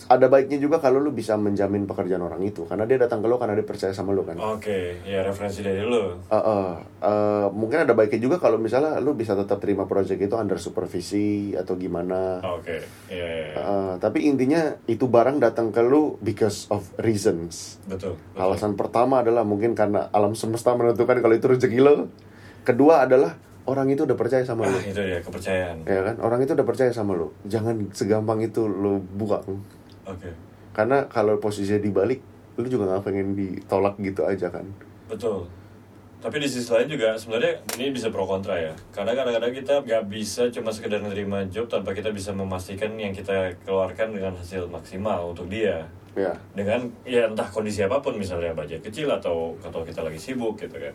Speaker 2: ada baiknya juga kalau lu bisa menjamin pekerjaan orang itu karena dia datang ke lu karena dia percaya sama lu kan.
Speaker 1: Oke, ya referensi dari lo.
Speaker 2: Eh, eh, eh, mungkin ada baiknya juga kalau misalnya lu bisa tetap terima project itu under supervisi atau gimana.
Speaker 1: Oke, iya, iya, iya.
Speaker 2: Eh, tapi intinya itu barang datang ke lu because of reasons.
Speaker 1: betul. betul.
Speaker 2: Alasan pertama adalah mungkin karena alam semesta menentukan kalau itu rezeki lu. Kedua adalah orang itu udah percaya sama lu.
Speaker 1: Ah, itu ya kepercayaan.
Speaker 2: Ya kan? Orang itu udah percaya sama lu. Jangan segampang itu lu buang.
Speaker 1: Oke,
Speaker 2: karena kalau posisinya dibalik lu juga nggak pengen ditolak gitu aja kan
Speaker 1: betul. Tapi di sisi lain juga sebenarnya ini bisa pro kontra ya. Karena kadang-kadang kita nggak bisa cuma sekedar menerima job tanpa kita bisa memastikan yang kita keluarkan dengan hasil maksimal untuk dia.
Speaker 2: ya
Speaker 1: dengan ya entah kondisi apapun misalnya budget kecil atau atau kita lagi sibuk gitu kan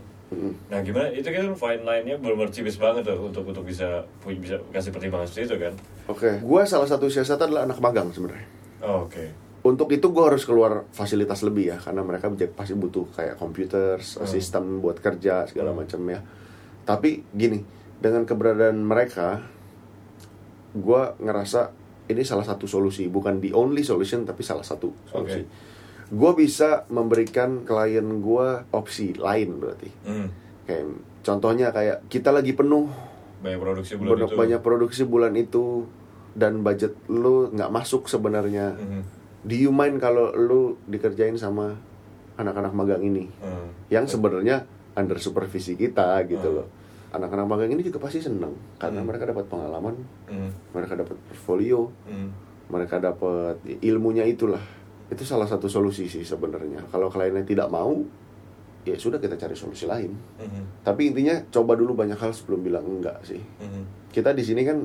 Speaker 1: nah gimana itu kan fine line-nya benar tipis banget tuh untuk untuk bisa pu- bisa kasih pertimbangan seperti itu kan
Speaker 2: oke gua salah satu siasat adalah anak magang sebenarnya
Speaker 1: Oh, oke
Speaker 2: untuk itu gua harus keluar fasilitas lebih ya karena mereka j- pasti butuh kayak komputer
Speaker 1: Hmm.
Speaker 2: sistem buat kerja segala macam ya tapi gini dengan keberadaan mereka gua ngerasa ini salah satu solusi bukan the only solution tapi salah satu solusi
Speaker 1: Oke.
Speaker 2: Gua bisa memberikan klien gua opsi lain berarti
Speaker 1: hmm.
Speaker 2: kayak contohnya kayak kita lagi penuh
Speaker 1: banyak produksi bulan
Speaker 2: banyak
Speaker 1: itu
Speaker 2: banyak produksi bulan itu dan budget lu nggak masuk sebenarnya
Speaker 1: Mhm.
Speaker 2: do you mind kalau lu dikerjain sama anak-anak magang ini
Speaker 1: Hmm.
Speaker 2: yang sebenarnya under supervisi kita gitu loh anak-anak magang ini juga pasti seneng karena mereka dapat pengalaman
Speaker 1: Hmm.
Speaker 2: mereka dapat portfolio
Speaker 1: Hmm.
Speaker 2: mereka dapat ilmunya itulah itu salah satu solusi sih sebenarnya kalau kliennya tidak mau ya sudah kita cari solusi lain
Speaker 1: Mhm,
Speaker 2: tapi intinya coba dulu banyak hal sebelum bilang enggak sih
Speaker 1: mhm,
Speaker 2: kita di sini kan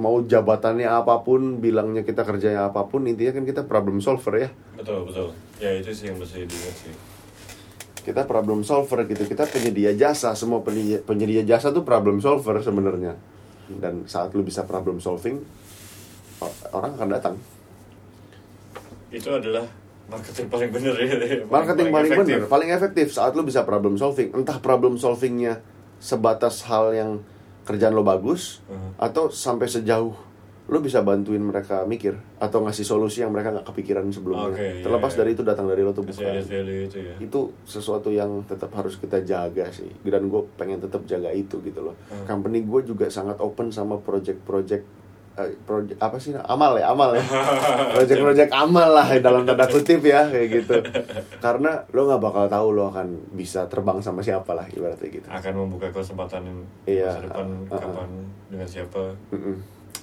Speaker 2: mau jabatannya apapun bilangnya kita kerjanya apapun intinya kan kita problem solver ya
Speaker 1: betul betul ya itu sih yang mesti diingat sih
Speaker 2: kita problem solver gitu kita penyedia jasa semua penyedia, penyedia jasa tuh problem solver sebenarnya dan saat lu bisa problem solving o- orang akan datang
Speaker 1: itu adalah marketing paling bener ya
Speaker 2: marketing paling
Speaker 1: efektif.
Speaker 2: benar paling efektif saat lu bisa problem solving entah problem solvingnya sebatas hal yang kerjaan lo bagus
Speaker 1: Mhm.
Speaker 2: atau sampai sejauh lu bisa bantuin mereka mikir atau ngasih solusi yang mereka nggak kepikiran sebelumnya
Speaker 1: Oke, iya,
Speaker 2: terlepas
Speaker 1: iya.
Speaker 2: dari itu datang dari lo tuh
Speaker 1: Masih
Speaker 2: bukan
Speaker 1: ada value itu ya
Speaker 2: itu sesuatu yang tetap harus kita jaga sih dan gue pengen tetap jaga itu gitu loh
Speaker 1: Hmm.
Speaker 2: company gue juga sangat open sama project-project eh, proje- apa sih amal ya amal ya project-project amal lah dalam tanda kutip ya kayak gitu karena lo nggak bakal tahu lo akan bisa terbang sama siapa lah ibaratnya gitu
Speaker 1: akan membuka kesempatan
Speaker 2: Iya,
Speaker 1: masa depan
Speaker 2: uh, uh, uh.
Speaker 1: kapan dengan siapa
Speaker 2: Mm-mm.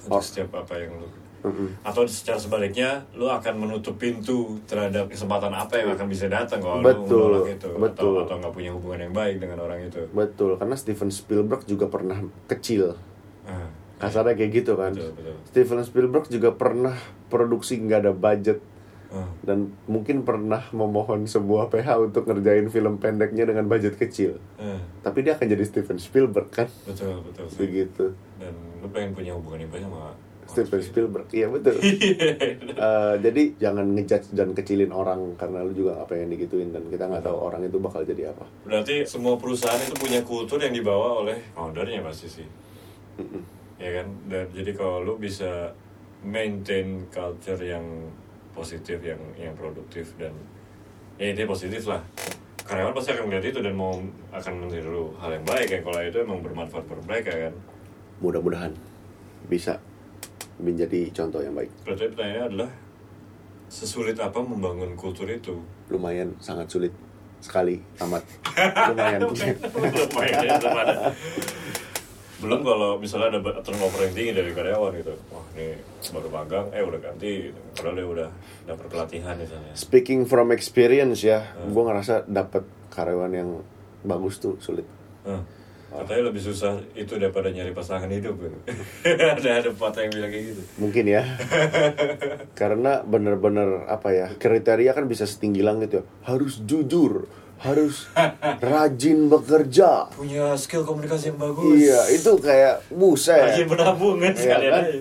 Speaker 2: Oh.
Speaker 1: untuk setiap apa yang lu
Speaker 2: Mm-mm.
Speaker 1: atau secara sebaliknya lu akan menutup pintu terhadap kesempatan apa yang akan bisa datang kalau
Speaker 2: Betul,
Speaker 1: lu menolak itu
Speaker 2: betul.
Speaker 1: atau atau nggak punya hubungan yang baik dengan orang itu
Speaker 2: betul karena Steven Spielberg juga pernah kecil
Speaker 1: Ah,
Speaker 2: kasarnya kayak gitu kan
Speaker 1: betul betul
Speaker 2: Steven Spielberg juga pernah produksi nggak ada budget
Speaker 1: Ah,
Speaker 2: dan mungkin pernah memohon sebuah PH untuk ngerjain film pendeknya dengan budget kecil.
Speaker 1: ah,
Speaker 2: Tapi dia akan jadi Steven Spielberg kan?
Speaker 1: betul betul sih.
Speaker 2: Begitu.
Speaker 1: dan lu pengen punya hubungan yang baik sama orang
Speaker 2: Steven
Speaker 1: lain.
Speaker 2: Spielberg, iya betul. Eh, jadi jangan ngejudge dan kecilin orang karena lu juga apa yang digituin dan kita nggak tahu orang itu bakal jadi apa.
Speaker 1: berarti semua perusahaan itu punya kultur yang dibawa oleh foundernya pasti sih ya kan dan jadi kalau lu bisa maintain culture yang positif yang yang produktif dan ya intinya positif lah karyawan pasti akan melihat itu dan mau akan meniru hal yang baik ya kalau itu emang bermanfaat buat mereka kan
Speaker 2: Mudah-mudahan bisa menjadi contoh yang baik.
Speaker 1: berarti pertanyaannya adalah sesulit apa membangun kultur itu
Speaker 2: Lumayan sangat sulit sekali amat. Lumayan.
Speaker 1: Lumayan, lumayan. belum kalau misalnya ada turnover yang tinggi dari karyawan gitu wah ini baru magang eh udah ganti gitu. padahal dia udah dapat pelatihan di sana
Speaker 2: Speaking from experience ya, gua ngerasa dapat karyawan yang bagus tuh sulit.
Speaker 1: Hmm. Katanya lebih susah itu daripada nyari pasangan hidup gitu. ada ada patah yang bilang kayak gitu.
Speaker 2: mungkin ya karena bener-bener apa ya kriteria kan bisa setinggi langit ya harus jujur harus rajin bekerja
Speaker 1: Punya skill komunikasi yang bagus.
Speaker 2: iya itu kayak
Speaker 1: Rajin
Speaker 2: buset
Speaker 1: menabung kan
Speaker 2: Iya,
Speaker 1: sekalian
Speaker 2: kan?
Speaker 1: aja.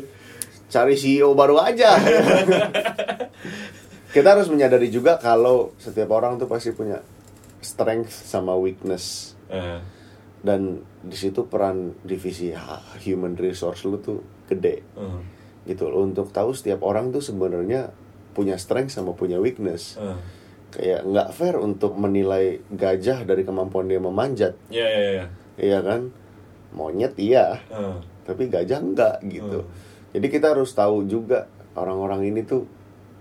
Speaker 2: cari CEO baru aja kita harus menyadari juga kalau setiap orang tuh pasti punya strength sama weakness
Speaker 1: Eh,
Speaker 2: dan di situ peran divisi H- human resource lu tuh gede
Speaker 1: eh,
Speaker 2: gitu loh untuk tahu setiap orang tuh sebenarnya punya strength sama punya weakness
Speaker 1: eh.
Speaker 2: kayak nggak fair untuk menilai gajah dari kemampuan dia memanjat
Speaker 1: Iya iya iya.
Speaker 2: iya kan monyet iya
Speaker 1: Eh,
Speaker 2: tapi gajah nggak gitu
Speaker 1: Hmm.
Speaker 2: jadi kita harus tahu juga orang-orang ini tuh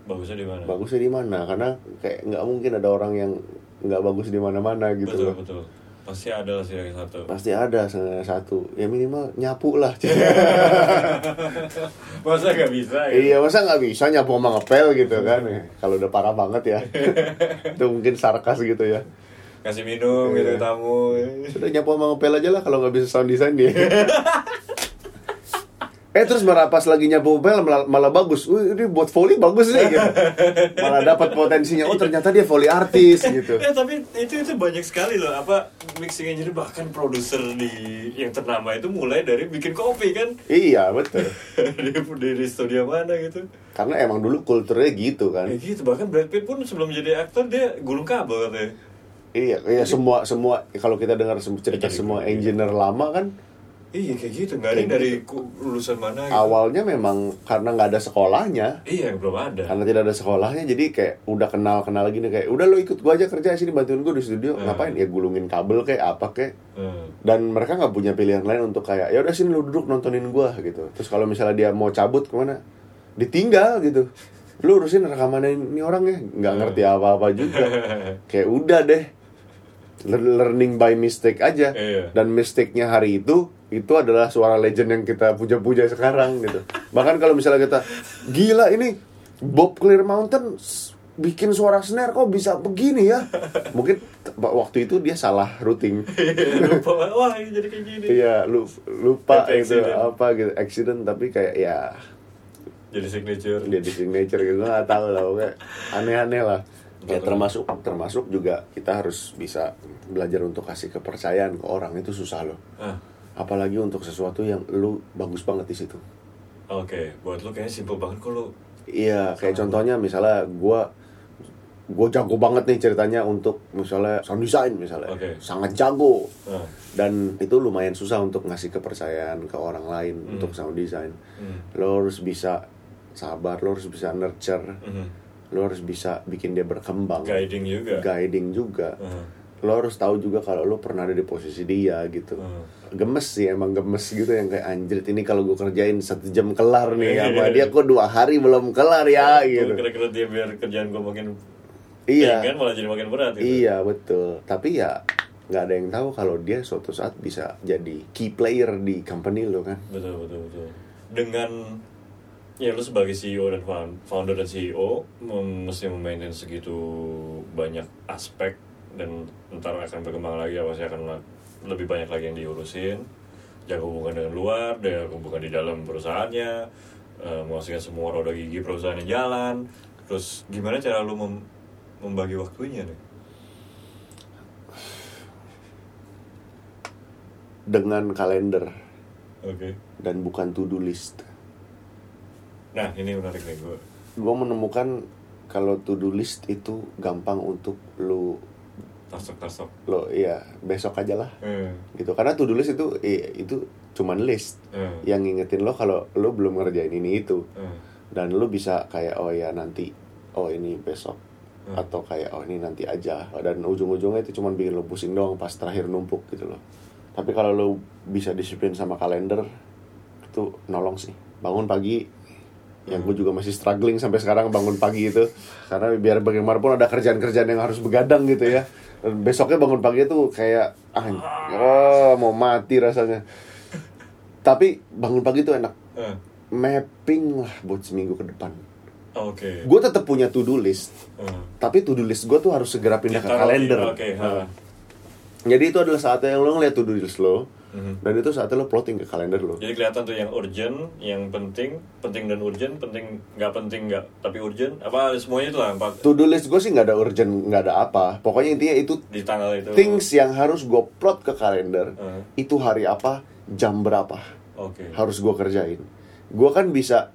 Speaker 1: Bagusnya di mana?
Speaker 2: bagusnya di mana karena kayak nggak mungkin ada orang yang nggak bagus di mana-mana gitu
Speaker 1: betul
Speaker 2: loh
Speaker 1: betul. Pasti ada lah sih yang satu.
Speaker 2: pasti ada salah satu ya minimal nyapu lah
Speaker 1: Masa gak bisa ya?
Speaker 2: iya masa nggak bisa nyapu sama ngepel gitu kan kalau udah parah banget ya itu mungkin sarkas gitu ya
Speaker 1: Kasih minum gitu
Speaker 2: Iya.
Speaker 1: tamu.
Speaker 2: Sudah nyapu sama ngepel aja lah kalau nggak bisa sound design dia. eh terus merapas lagi nyapu ngepel malah, malah bagus. Wih, ini buat volley bagus nih gitu. Malah dapat potensinya. Oh ternyata dia volley artis gitu.
Speaker 1: Eh tapi itu itu banyak sekali loh apa mixing engineer bahkan produser di yang ternama itu mulai dari bikin kopi kan
Speaker 2: Iya betul.
Speaker 1: di, di studio mana gitu
Speaker 2: Karena emang dulu kulturnya gitu
Speaker 1: ya
Speaker 2: kan.
Speaker 1: gitu bahkan Brad Pitt pun sebelum jadi aktor dia gulung kabel katanya
Speaker 2: Iya, iya semua semua kalau kita dengar semua cerita semua engineer lama kan
Speaker 1: iya kayak gitu nggak ada yang dari ku- lulusan mana gitu.
Speaker 2: awalnya memang karena nggak ada sekolahnya
Speaker 1: iya belum ada
Speaker 2: karena tidak ada sekolahnya jadi kayak udah kenal kenal gini kayak udah lo ikut gua aja kerja sini bantuin gua di studio
Speaker 1: Hmm.
Speaker 2: ngapain ya gulungin kabel kayak apa kayak
Speaker 1: Eh,
Speaker 2: dan mereka nggak punya pilihan lain untuk kayak ya udah sini lu duduk nontonin gua gitu terus kalau misalnya dia mau cabut kemana ditinggal gitu lu urusin rekaman ini orang ya nggak ngerti apa apa juga kayak udah deh Le- learning by mistake aja
Speaker 1: Iya.
Speaker 2: dan mistake-nya hari itu itu adalah suara legend yang kita puja-puja sekarang gitu bahkan kalau misalnya kita gila ini Bob Clear Mountain s- bikin suara snare kok bisa begini ya mungkin t- waktu itu dia salah routing
Speaker 1: lupa wah ini jadi kayak gini
Speaker 2: iya lu lupa
Speaker 1: Happy
Speaker 2: gitu
Speaker 1: accident.
Speaker 2: apa gitu accident tapi kayak ya
Speaker 1: jadi signature
Speaker 2: dia di signature gitu nggak tahu lah pokoknya aneh-aneh lah ya termasuk termasuk juga kita harus bisa belajar untuk kasih kepercayaan ke orang itu susah loh
Speaker 1: ah
Speaker 2: apalagi untuk sesuatu yang lu bagus banget di situ
Speaker 1: oke buat lu kayaknya simple banget kok lu
Speaker 2: Iya, kayak contohnya misalnya gua gue jago banget nih ceritanya untuk misalnya sound design misalnya
Speaker 1: Oke.
Speaker 2: sangat jago
Speaker 1: ah
Speaker 2: dan itu lumayan susah untuk ngasih kepercayaan ke orang lain untuk sound design
Speaker 1: hmm.
Speaker 2: lo harus bisa sabar lo harus bisa nurture
Speaker 1: mhm.
Speaker 2: lo harus bisa bikin dia berkembang
Speaker 1: guiding juga
Speaker 2: guiding juga
Speaker 1: Ah,
Speaker 2: lo harus tahu juga kalau lo pernah ada di posisi dia gitu
Speaker 1: Hmm.
Speaker 2: gemes sih emang gemes gitu yang kayak anjir ini kalau gue kerjain satu jam kelar nih
Speaker 1: Iya,
Speaker 2: apa
Speaker 1: iya.
Speaker 2: dia kok dua hari belum kelar ya
Speaker 1: Gua
Speaker 2: gitu
Speaker 1: kira-kira dia biar kerjaan gue makin
Speaker 2: iya
Speaker 1: ringan malah jadi makin berat gitu
Speaker 2: iya betul tapi ya nggak ada yang tahu kalau dia suatu saat bisa jadi key player di company lo kan
Speaker 1: betul betul betul dengan ya lu sebagai CEO dan found- founder dan CEO mem- mesti memaintain segitu banyak aspek dan ntar akan berkembang lagi ya pasti akan la- lebih banyak lagi yang diurusin jaga hubungan dengan luar jaga hubungan di dalam perusahaannya eh, memastikan semua roda gigi perusahaannya jalan terus gimana cara lu mem- membagi waktunya nih
Speaker 2: dengan kalender
Speaker 1: oke
Speaker 2: dan bukan to do list
Speaker 1: nah ini menarik nih gue
Speaker 2: gue menemukan kalau to do list itu gampang untuk lo
Speaker 1: tasok tasok
Speaker 2: lo iya besok aja lah
Speaker 1: eh,
Speaker 2: gitu karena to do list itu i- itu cuman list
Speaker 1: eh,
Speaker 2: yang ngingetin lo kalau lo belum ngerjain ini itu
Speaker 1: eh.
Speaker 2: dan lo bisa kayak oh ya nanti oh ini besok
Speaker 1: Hmm.
Speaker 2: atau kayak oh ini nanti aja dan ujung-ujungnya itu cuman bikin lo pusing doang pas terakhir numpuk gitu loh tapi kalau lo bisa disiplin sama kalender itu nolong sih bangun pagi yang gue juga masih struggling sampai sekarang bangun pagi itu karena biar bagaimanapun ada kerjaan-kerjaan yang harus begadang gitu ya Dan besoknya bangun pagi itu kayak ah, oh, mau mati rasanya tapi bangun pagi itu enak
Speaker 1: eh.
Speaker 2: mapping lah buat seminggu ke depan
Speaker 1: oke
Speaker 2: gue tetap punya to do list
Speaker 1: Eh.
Speaker 2: tapi to do list gue tuh harus segera pindah ke
Speaker 1: Ditaruh di-
Speaker 2: kalender Hmm. Nah,
Speaker 1: Oke, ha.
Speaker 2: jadi itu adalah saatnya yang lo ngeliat to do list lo
Speaker 1: Mhm.
Speaker 2: dan itu saatnya lo plotting ke kalender lo
Speaker 1: Jadi kelihatan tuh yang urgent, yang penting, penting dan urgent, penting nggak penting nggak, tapi urgent. Apa semuanya itu lah empat
Speaker 2: to do list gue sih nggak ada urgent nggak ada apa pokoknya intinya itu
Speaker 1: di tanggal itu.
Speaker 2: things yang harus gue plot ke kalender
Speaker 1: Eh,
Speaker 2: itu hari apa jam berapa
Speaker 1: Oke.
Speaker 2: harus gue kerjain gue kan bisa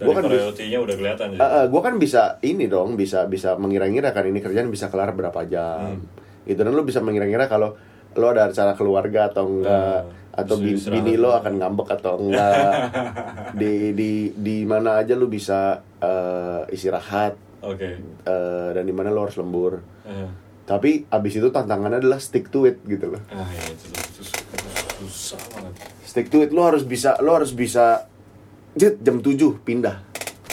Speaker 1: Dari
Speaker 2: gue kan bisa
Speaker 1: priority-nya udah kelihatan. ya. jadi.
Speaker 2: gue kan bisa ini dong, bisa bisa mengira-ngira kan ini kerjaan bisa kelar berapa jam.
Speaker 1: Hmm.
Speaker 2: Gitu dan lu bisa mengira-ngira kalau lo ada acara keluarga atau enggak
Speaker 1: Ah,
Speaker 2: atau bi-
Speaker 1: bisa istirahat.
Speaker 2: bini lo akan ngambek atau enggak. di di di mana aja lu bisa eh, istirahat
Speaker 1: Oke.
Speaker 2: eh, dan di mana lo harus lembur.
Speaker 1: Eh,
Speaker 2: Tapi abis itu tantangannya adalah stick to it gitu loh.
Speaker 1: Ah, ya, itu tuh, itu sus- itu susah banget.
Speaker 2: Stick to it lo harus bisa lo harus bisa jet jam 7 pindah.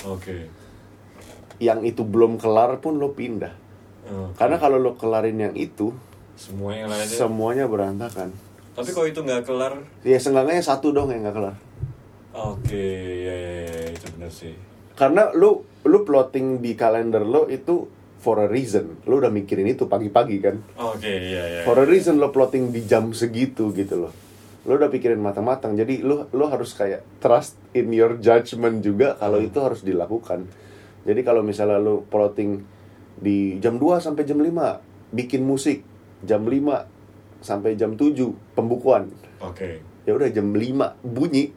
Speaker 1: Oke.
Speaker 2: Yang itu belum kelar pun lo pindah.
Speaker 1: Eh,
Speaker 2: Karena kalau lo kelarin yang itu,
Speaker 1: semua yang lainnya.
Speaker 2: semuanya berantakan.
Speaker 1: tapi kalau itu nggak kelar,
Speaker 2: Ya seenggaknya satu dong yang gak kelar.
Speaker 1: oke, ya, ya, ya, itu benar sih.
Speaker 2: Karena lu lu plotting di kalender lo itu for a reason. Lu udah mikirin itu pagi-pagi kan.
Speaker 1: Oke, ya ya.
Speaker 2: For a reason lo plotting di jam segitu gitu loh. Lo udah pikirin matang-matang. Jadi lu lu harus kayak trust in your judgment juga kalau itu harus dilakukan. Jadi kalau misalnya lu plotting di jam 2 sampai jam 5 bikin musik, jam 5 sampai jam 7 pembukuan.
Speaker 1: Oke.
Speaker 2: ya udah jam 5 bunyi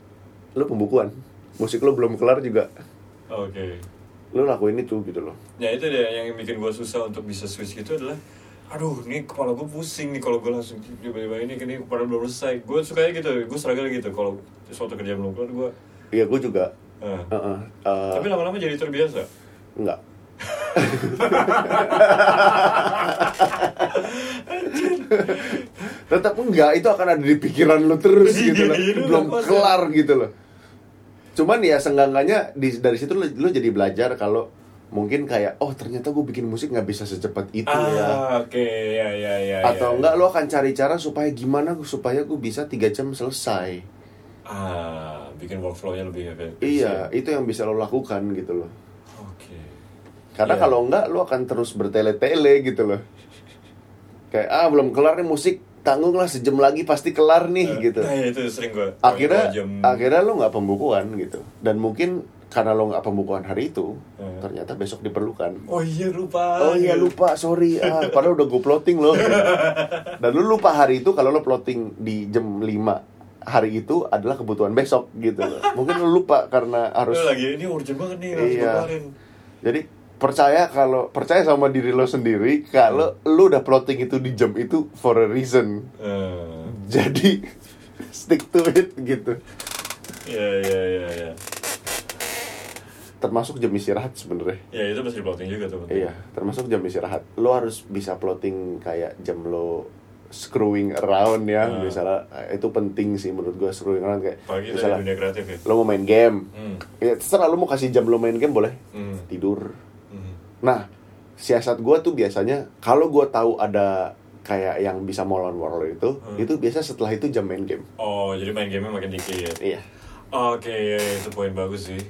Speaker 2: lu pembukuan musik lu belum kelar juga
Speaker 1: Oke.
Speaker 2: lu lakuin itu gitu loh
Speaker 1: Ya itu deh yang bikin gue susah untuk bisa switch gitu adalah Aduh, ini kepala gue pusing nih kalau gue langsung tiba-tiba ini ini kepala belum selesai. Gue sukanya gitu, gue struggle gitu kalau suatu kerja belum kelar gue.
Speaker 2: ya gue juga
Speaker 1: eh.
Speaker 2: Heeh. Eh,
Speaker 1: Tapi lama-lama jadi terbiasa.
Speaker 2: enggak tetap enggak itu akan ada di pikiran lu terus
Speaker 1: Iya,
Speaker 2: gitu loh
Speaker 1: iya, lu
Speaker 2: belum
Speaker 1: lepas ya.
Speaker 2: kelar gitu loh cuman ya senggangannya dari situ lu, lu jadi belajar kalau mungkin kayak oh ternyata gue bikin musik nggak bisa secepat itu ya
Speaker 1: Ah, oke, ya ya ya. ya.
Speaker 2: atau enggak lo akan cari cara supaya gimana gua- supaya gue bisa tiga jam selesai
Speaker 1: Ah, Iya, bikin workflow-nya lebih efektif.
Speaker 2: iya itu yang bisa lo lakukan gitu loh
Speaker 1: Oke.
Speaker 2: Karena
Speaker 1: Iya.
Speaker 2: kalau enggak lu akan terus bertele-tele gitu loh. Kayak ah belum kelar nih musik, tanggung lah sejam lagi pasti kelar nih gitu.
Speaker 1: Nah, itu sering gue
Speaker 2: Akhirnya
Speaker 1: jam
Speaker 2: akhirnya lu nggak pembukuan gitu. Dan mungkin karena lu nggak pembukuan hari itu,
Speaker 1: Iya.
Speaker 2: ternyata besok diperlukan.
Speaker 1: Oh iya lupa.
Speaker 2: Oh iya lupa, sorry. Ah, padahal udah gue plotting loh. Dan lu lupa hari itu kalau lu plotting di jam 5 hari itu adalah kebutuhan besok gitu loh. Mungkin lu lupa karena harus
Speaker 1: Lu lagi ini urgent banget nih harus
Speaker 2: Iya.
Speaker 1: gue kelarin.
Speaker 2: Jadi percaya kalau percaya sama diri lo sendiri kalau lu udah plotting itu di jam itu for a reason.
Speaker 1: Eh,
Speaker 2: Jadi stick to it gitu.
Speaker 1: Iya iya iya iya.
Speaker 2: Termasuk jam istirahat sebenarnya.
Speaker 1: Ya itu pasti plotting juga tuh. penting.
Speaker 2: Iya, termasuk jam istirahat. Lo harus bisa plotting kayak jam lo screwing around ya,
Speaker 1: Nah.
Speaker 2: misalnya eh, itu penting sih menurut gua screwing around kayak
Speaker 1: Apalagi dari
Speaker 2: misalnya
Speaker 1: dunia kreatif ya.
Speaker 2: lo mau main game.
Speaker 1: Hmm.
Speaker 2: Ya terserah lo mau kasih jam lo main game boleh.
Speaker 1: Hmm.
Speaker 2: Tidur.
Speaker 1: Hmm.
Speaker 2: Nah, siasat gua tuh biasanya kalau gua tahu ada kayak yang bisa molawan warlord itu,
Speaker 1: Hmm.
Speaker 2: itu biasa setelah itu jam main game.
Speaker 1: Oh jadi main gamenya makin dikit.
Speaker 2: Iya.
Speaker 1: Oke, ya, itu poin bagus sih.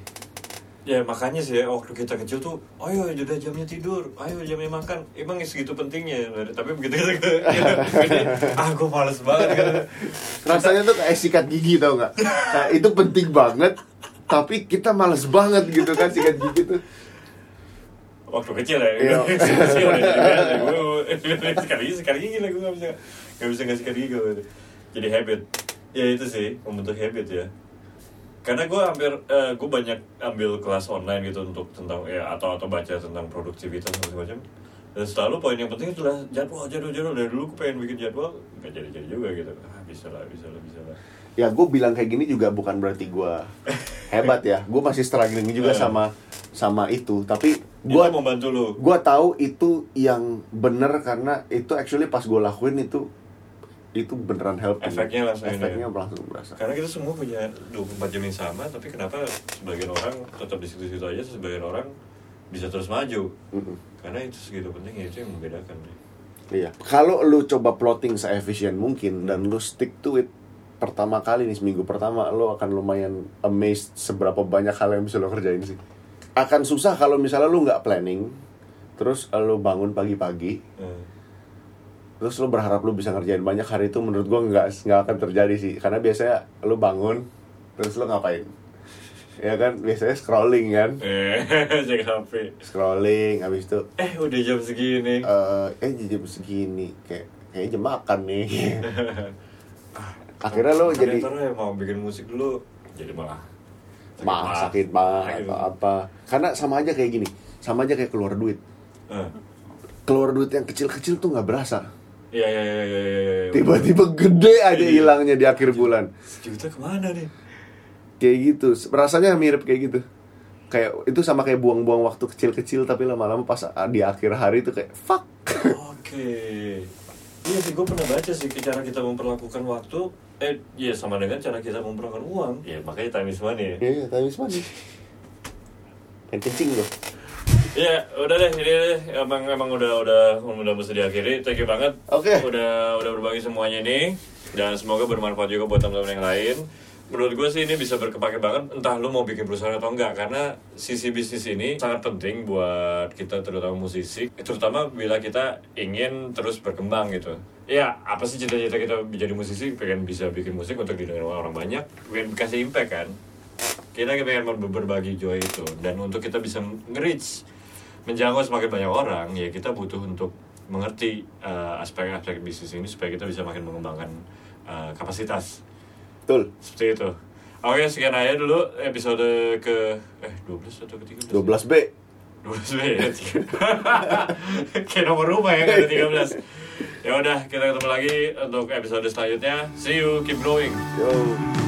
Speaker 1: Ya makanya sih ya, waktu kita kecil tuh, ayo udah jamnya tidur, ayo jamnya makan. Emang segitu pentingnya, tapi begitu kita ke- kita gede, ah gue males banget. Gitu.
Speaker 2: Rasanya tuh kayak sikat gigi tau nggak? Nah, itu penting banget, tapi kita males banget gitu kan sikat gigi tuh.
Speaker 1: Waktu kecil ya,
Speaker 2: Iya.
Speaker 1: kecil kecil ya, jadi biasa. Gua- sekali sekali gigi lah gue gak bisa gak bisa ngasih sikat gigi gua. Jadi habit, ya itu sih membentuk habit ya. Karena gue hampir gue banyak ambil kelas online gitu untuk tentang ya atau atau baca tentang produktivitas dan macam dan selalu poin yang penting itulah jadwal jadwal jadwal dari dulu gue pengen bikin jadwal nggak jadi jadi juga gitu ah bisa lah bisa lah bisa lah
Speaker 2: Ya gue bilang kayak gini juga bukan berarti gua hebat ya. Gue masih struggling juga
Speaker 1: Iya.
Speaker 2: sama sama itu, tapi
Speaker 1: gue
Speaker 2: gua
Speaker 1: membantu lu
Speaker 2: gua tahu itu yang bener karena itu actually pas gua lakuin itu itu beneran helping.
Speaker 1: Efeknya langsung ini.
Speaker 2: Efeknya langsung berasa.
Speaker 1: karena kita semua punya 24 jam yang sama tapi kenapa sebagian orang tetap di situ-situ aja sebagian orang bisa terus maju
Speaker 2: Mm-mm.
Speaker 1: karena itu segitu penting ya, itu yang membedakan ya.
Speaker 2: Iya. Kalau lu coba plotting seefisien mungkin dan lu stick to it pertama kali nih seminggu pertama lu akan lumayan amazed seberapa banyak hal yang bisa lo kerjain sih. Akan susah kalau misalnya lu nggak planning, terus lu bangun pagi-pagi,
Speaker 1: Eh,
Speaker 2: terus lu berharap lu bisa ngerjain banyak hari itu menurut gua nggak nggak akan terjadi sih karena biasanya lu bangun terus lu ngapain? Ya kan biasanya scrolling kan.
Speaker 1: eh cek HP
Speaker 2: Scrolling habis itu
Speaker 1: eh udah jam segini
Speaker 2: eh eh jam segini kayak kayaknya jam makan nih akhirnya lo
Speaker 1: Makanya
Speaker 2: jadi
Speaker 1: ntar ya mau bikin musik dulu jadi malah
Speaker 2: mah sakit mah atau apa karena sama aja kayak gini sama aja kayak keluar duit
Speaker 1: Eh,
Speaker 2: keluar duit yang kecil-kecil tuh nggak berasa
Speaker 1: iya iya iya iya iya iya, iya.
Speaker 2: tiba-tiba gede aja
Speaker 1: Iya.
Speaker 2: hilangnya di akhir bulan
Speaker 1: sejuta kemana nih
Speaker 2: kayak gitu rasanya mirip kayak gitu kayak itu sama kayak buang-buang waktu kecil-kecil tapi lama-lama pas ah, di akhir hari tuh kayak fuck
Speaker 1: Oke. Iya sih, gue pernah baca sih cara kita memperlakukan waktu. Eh, iya sama dengan cara kita memperlakukan uang. Iya, makanya time is money. ya.
Speaker 2: iya tapi semuanya dan kencing loh
Speaker 1: Iya, udah deh, ini deh. Emang emang udah udah udah mesti diakhiri. Thank you banget.
Speaker 2: Oke.
Speaker 1: Udah udah berbagi semuanya ini dan semoga bermanfaat juga buat teman-teman yang lain. Menurut gue sih ini bisa berkepake banget entah lu mau bikin perusahaan atau enggak karena sisi bisnis ini sangat penting buat kita terutama musisi terutama bila kita ingin terus berkembang gitu. Ya apa sih cita-cita kita menjadi musisi pengen bisa bikin musik untuk didengar orang banyak pengen kasih impact kan kita pengen ber- berbagi joy itu dan untuk kita bisa nge-reach menjangkau semakin banyak orang ya kita butuh untuk mengerti eh, aspek-aspek bisnis ini supaya kita bisa makin mengembangkan eh, kapasitas
Speaker 2: betul
Speaker 1: seperti itu oke sekian aja dulu episode ke eh 12 atau ke 13
Speaker 2: 12 b
Speaker 1: 12 B ya kayak nomor rumah ya kan ada 13 ya udah kita ketemu lagi untuk episode selanjutnya see you keep growing
Speaker 2: yo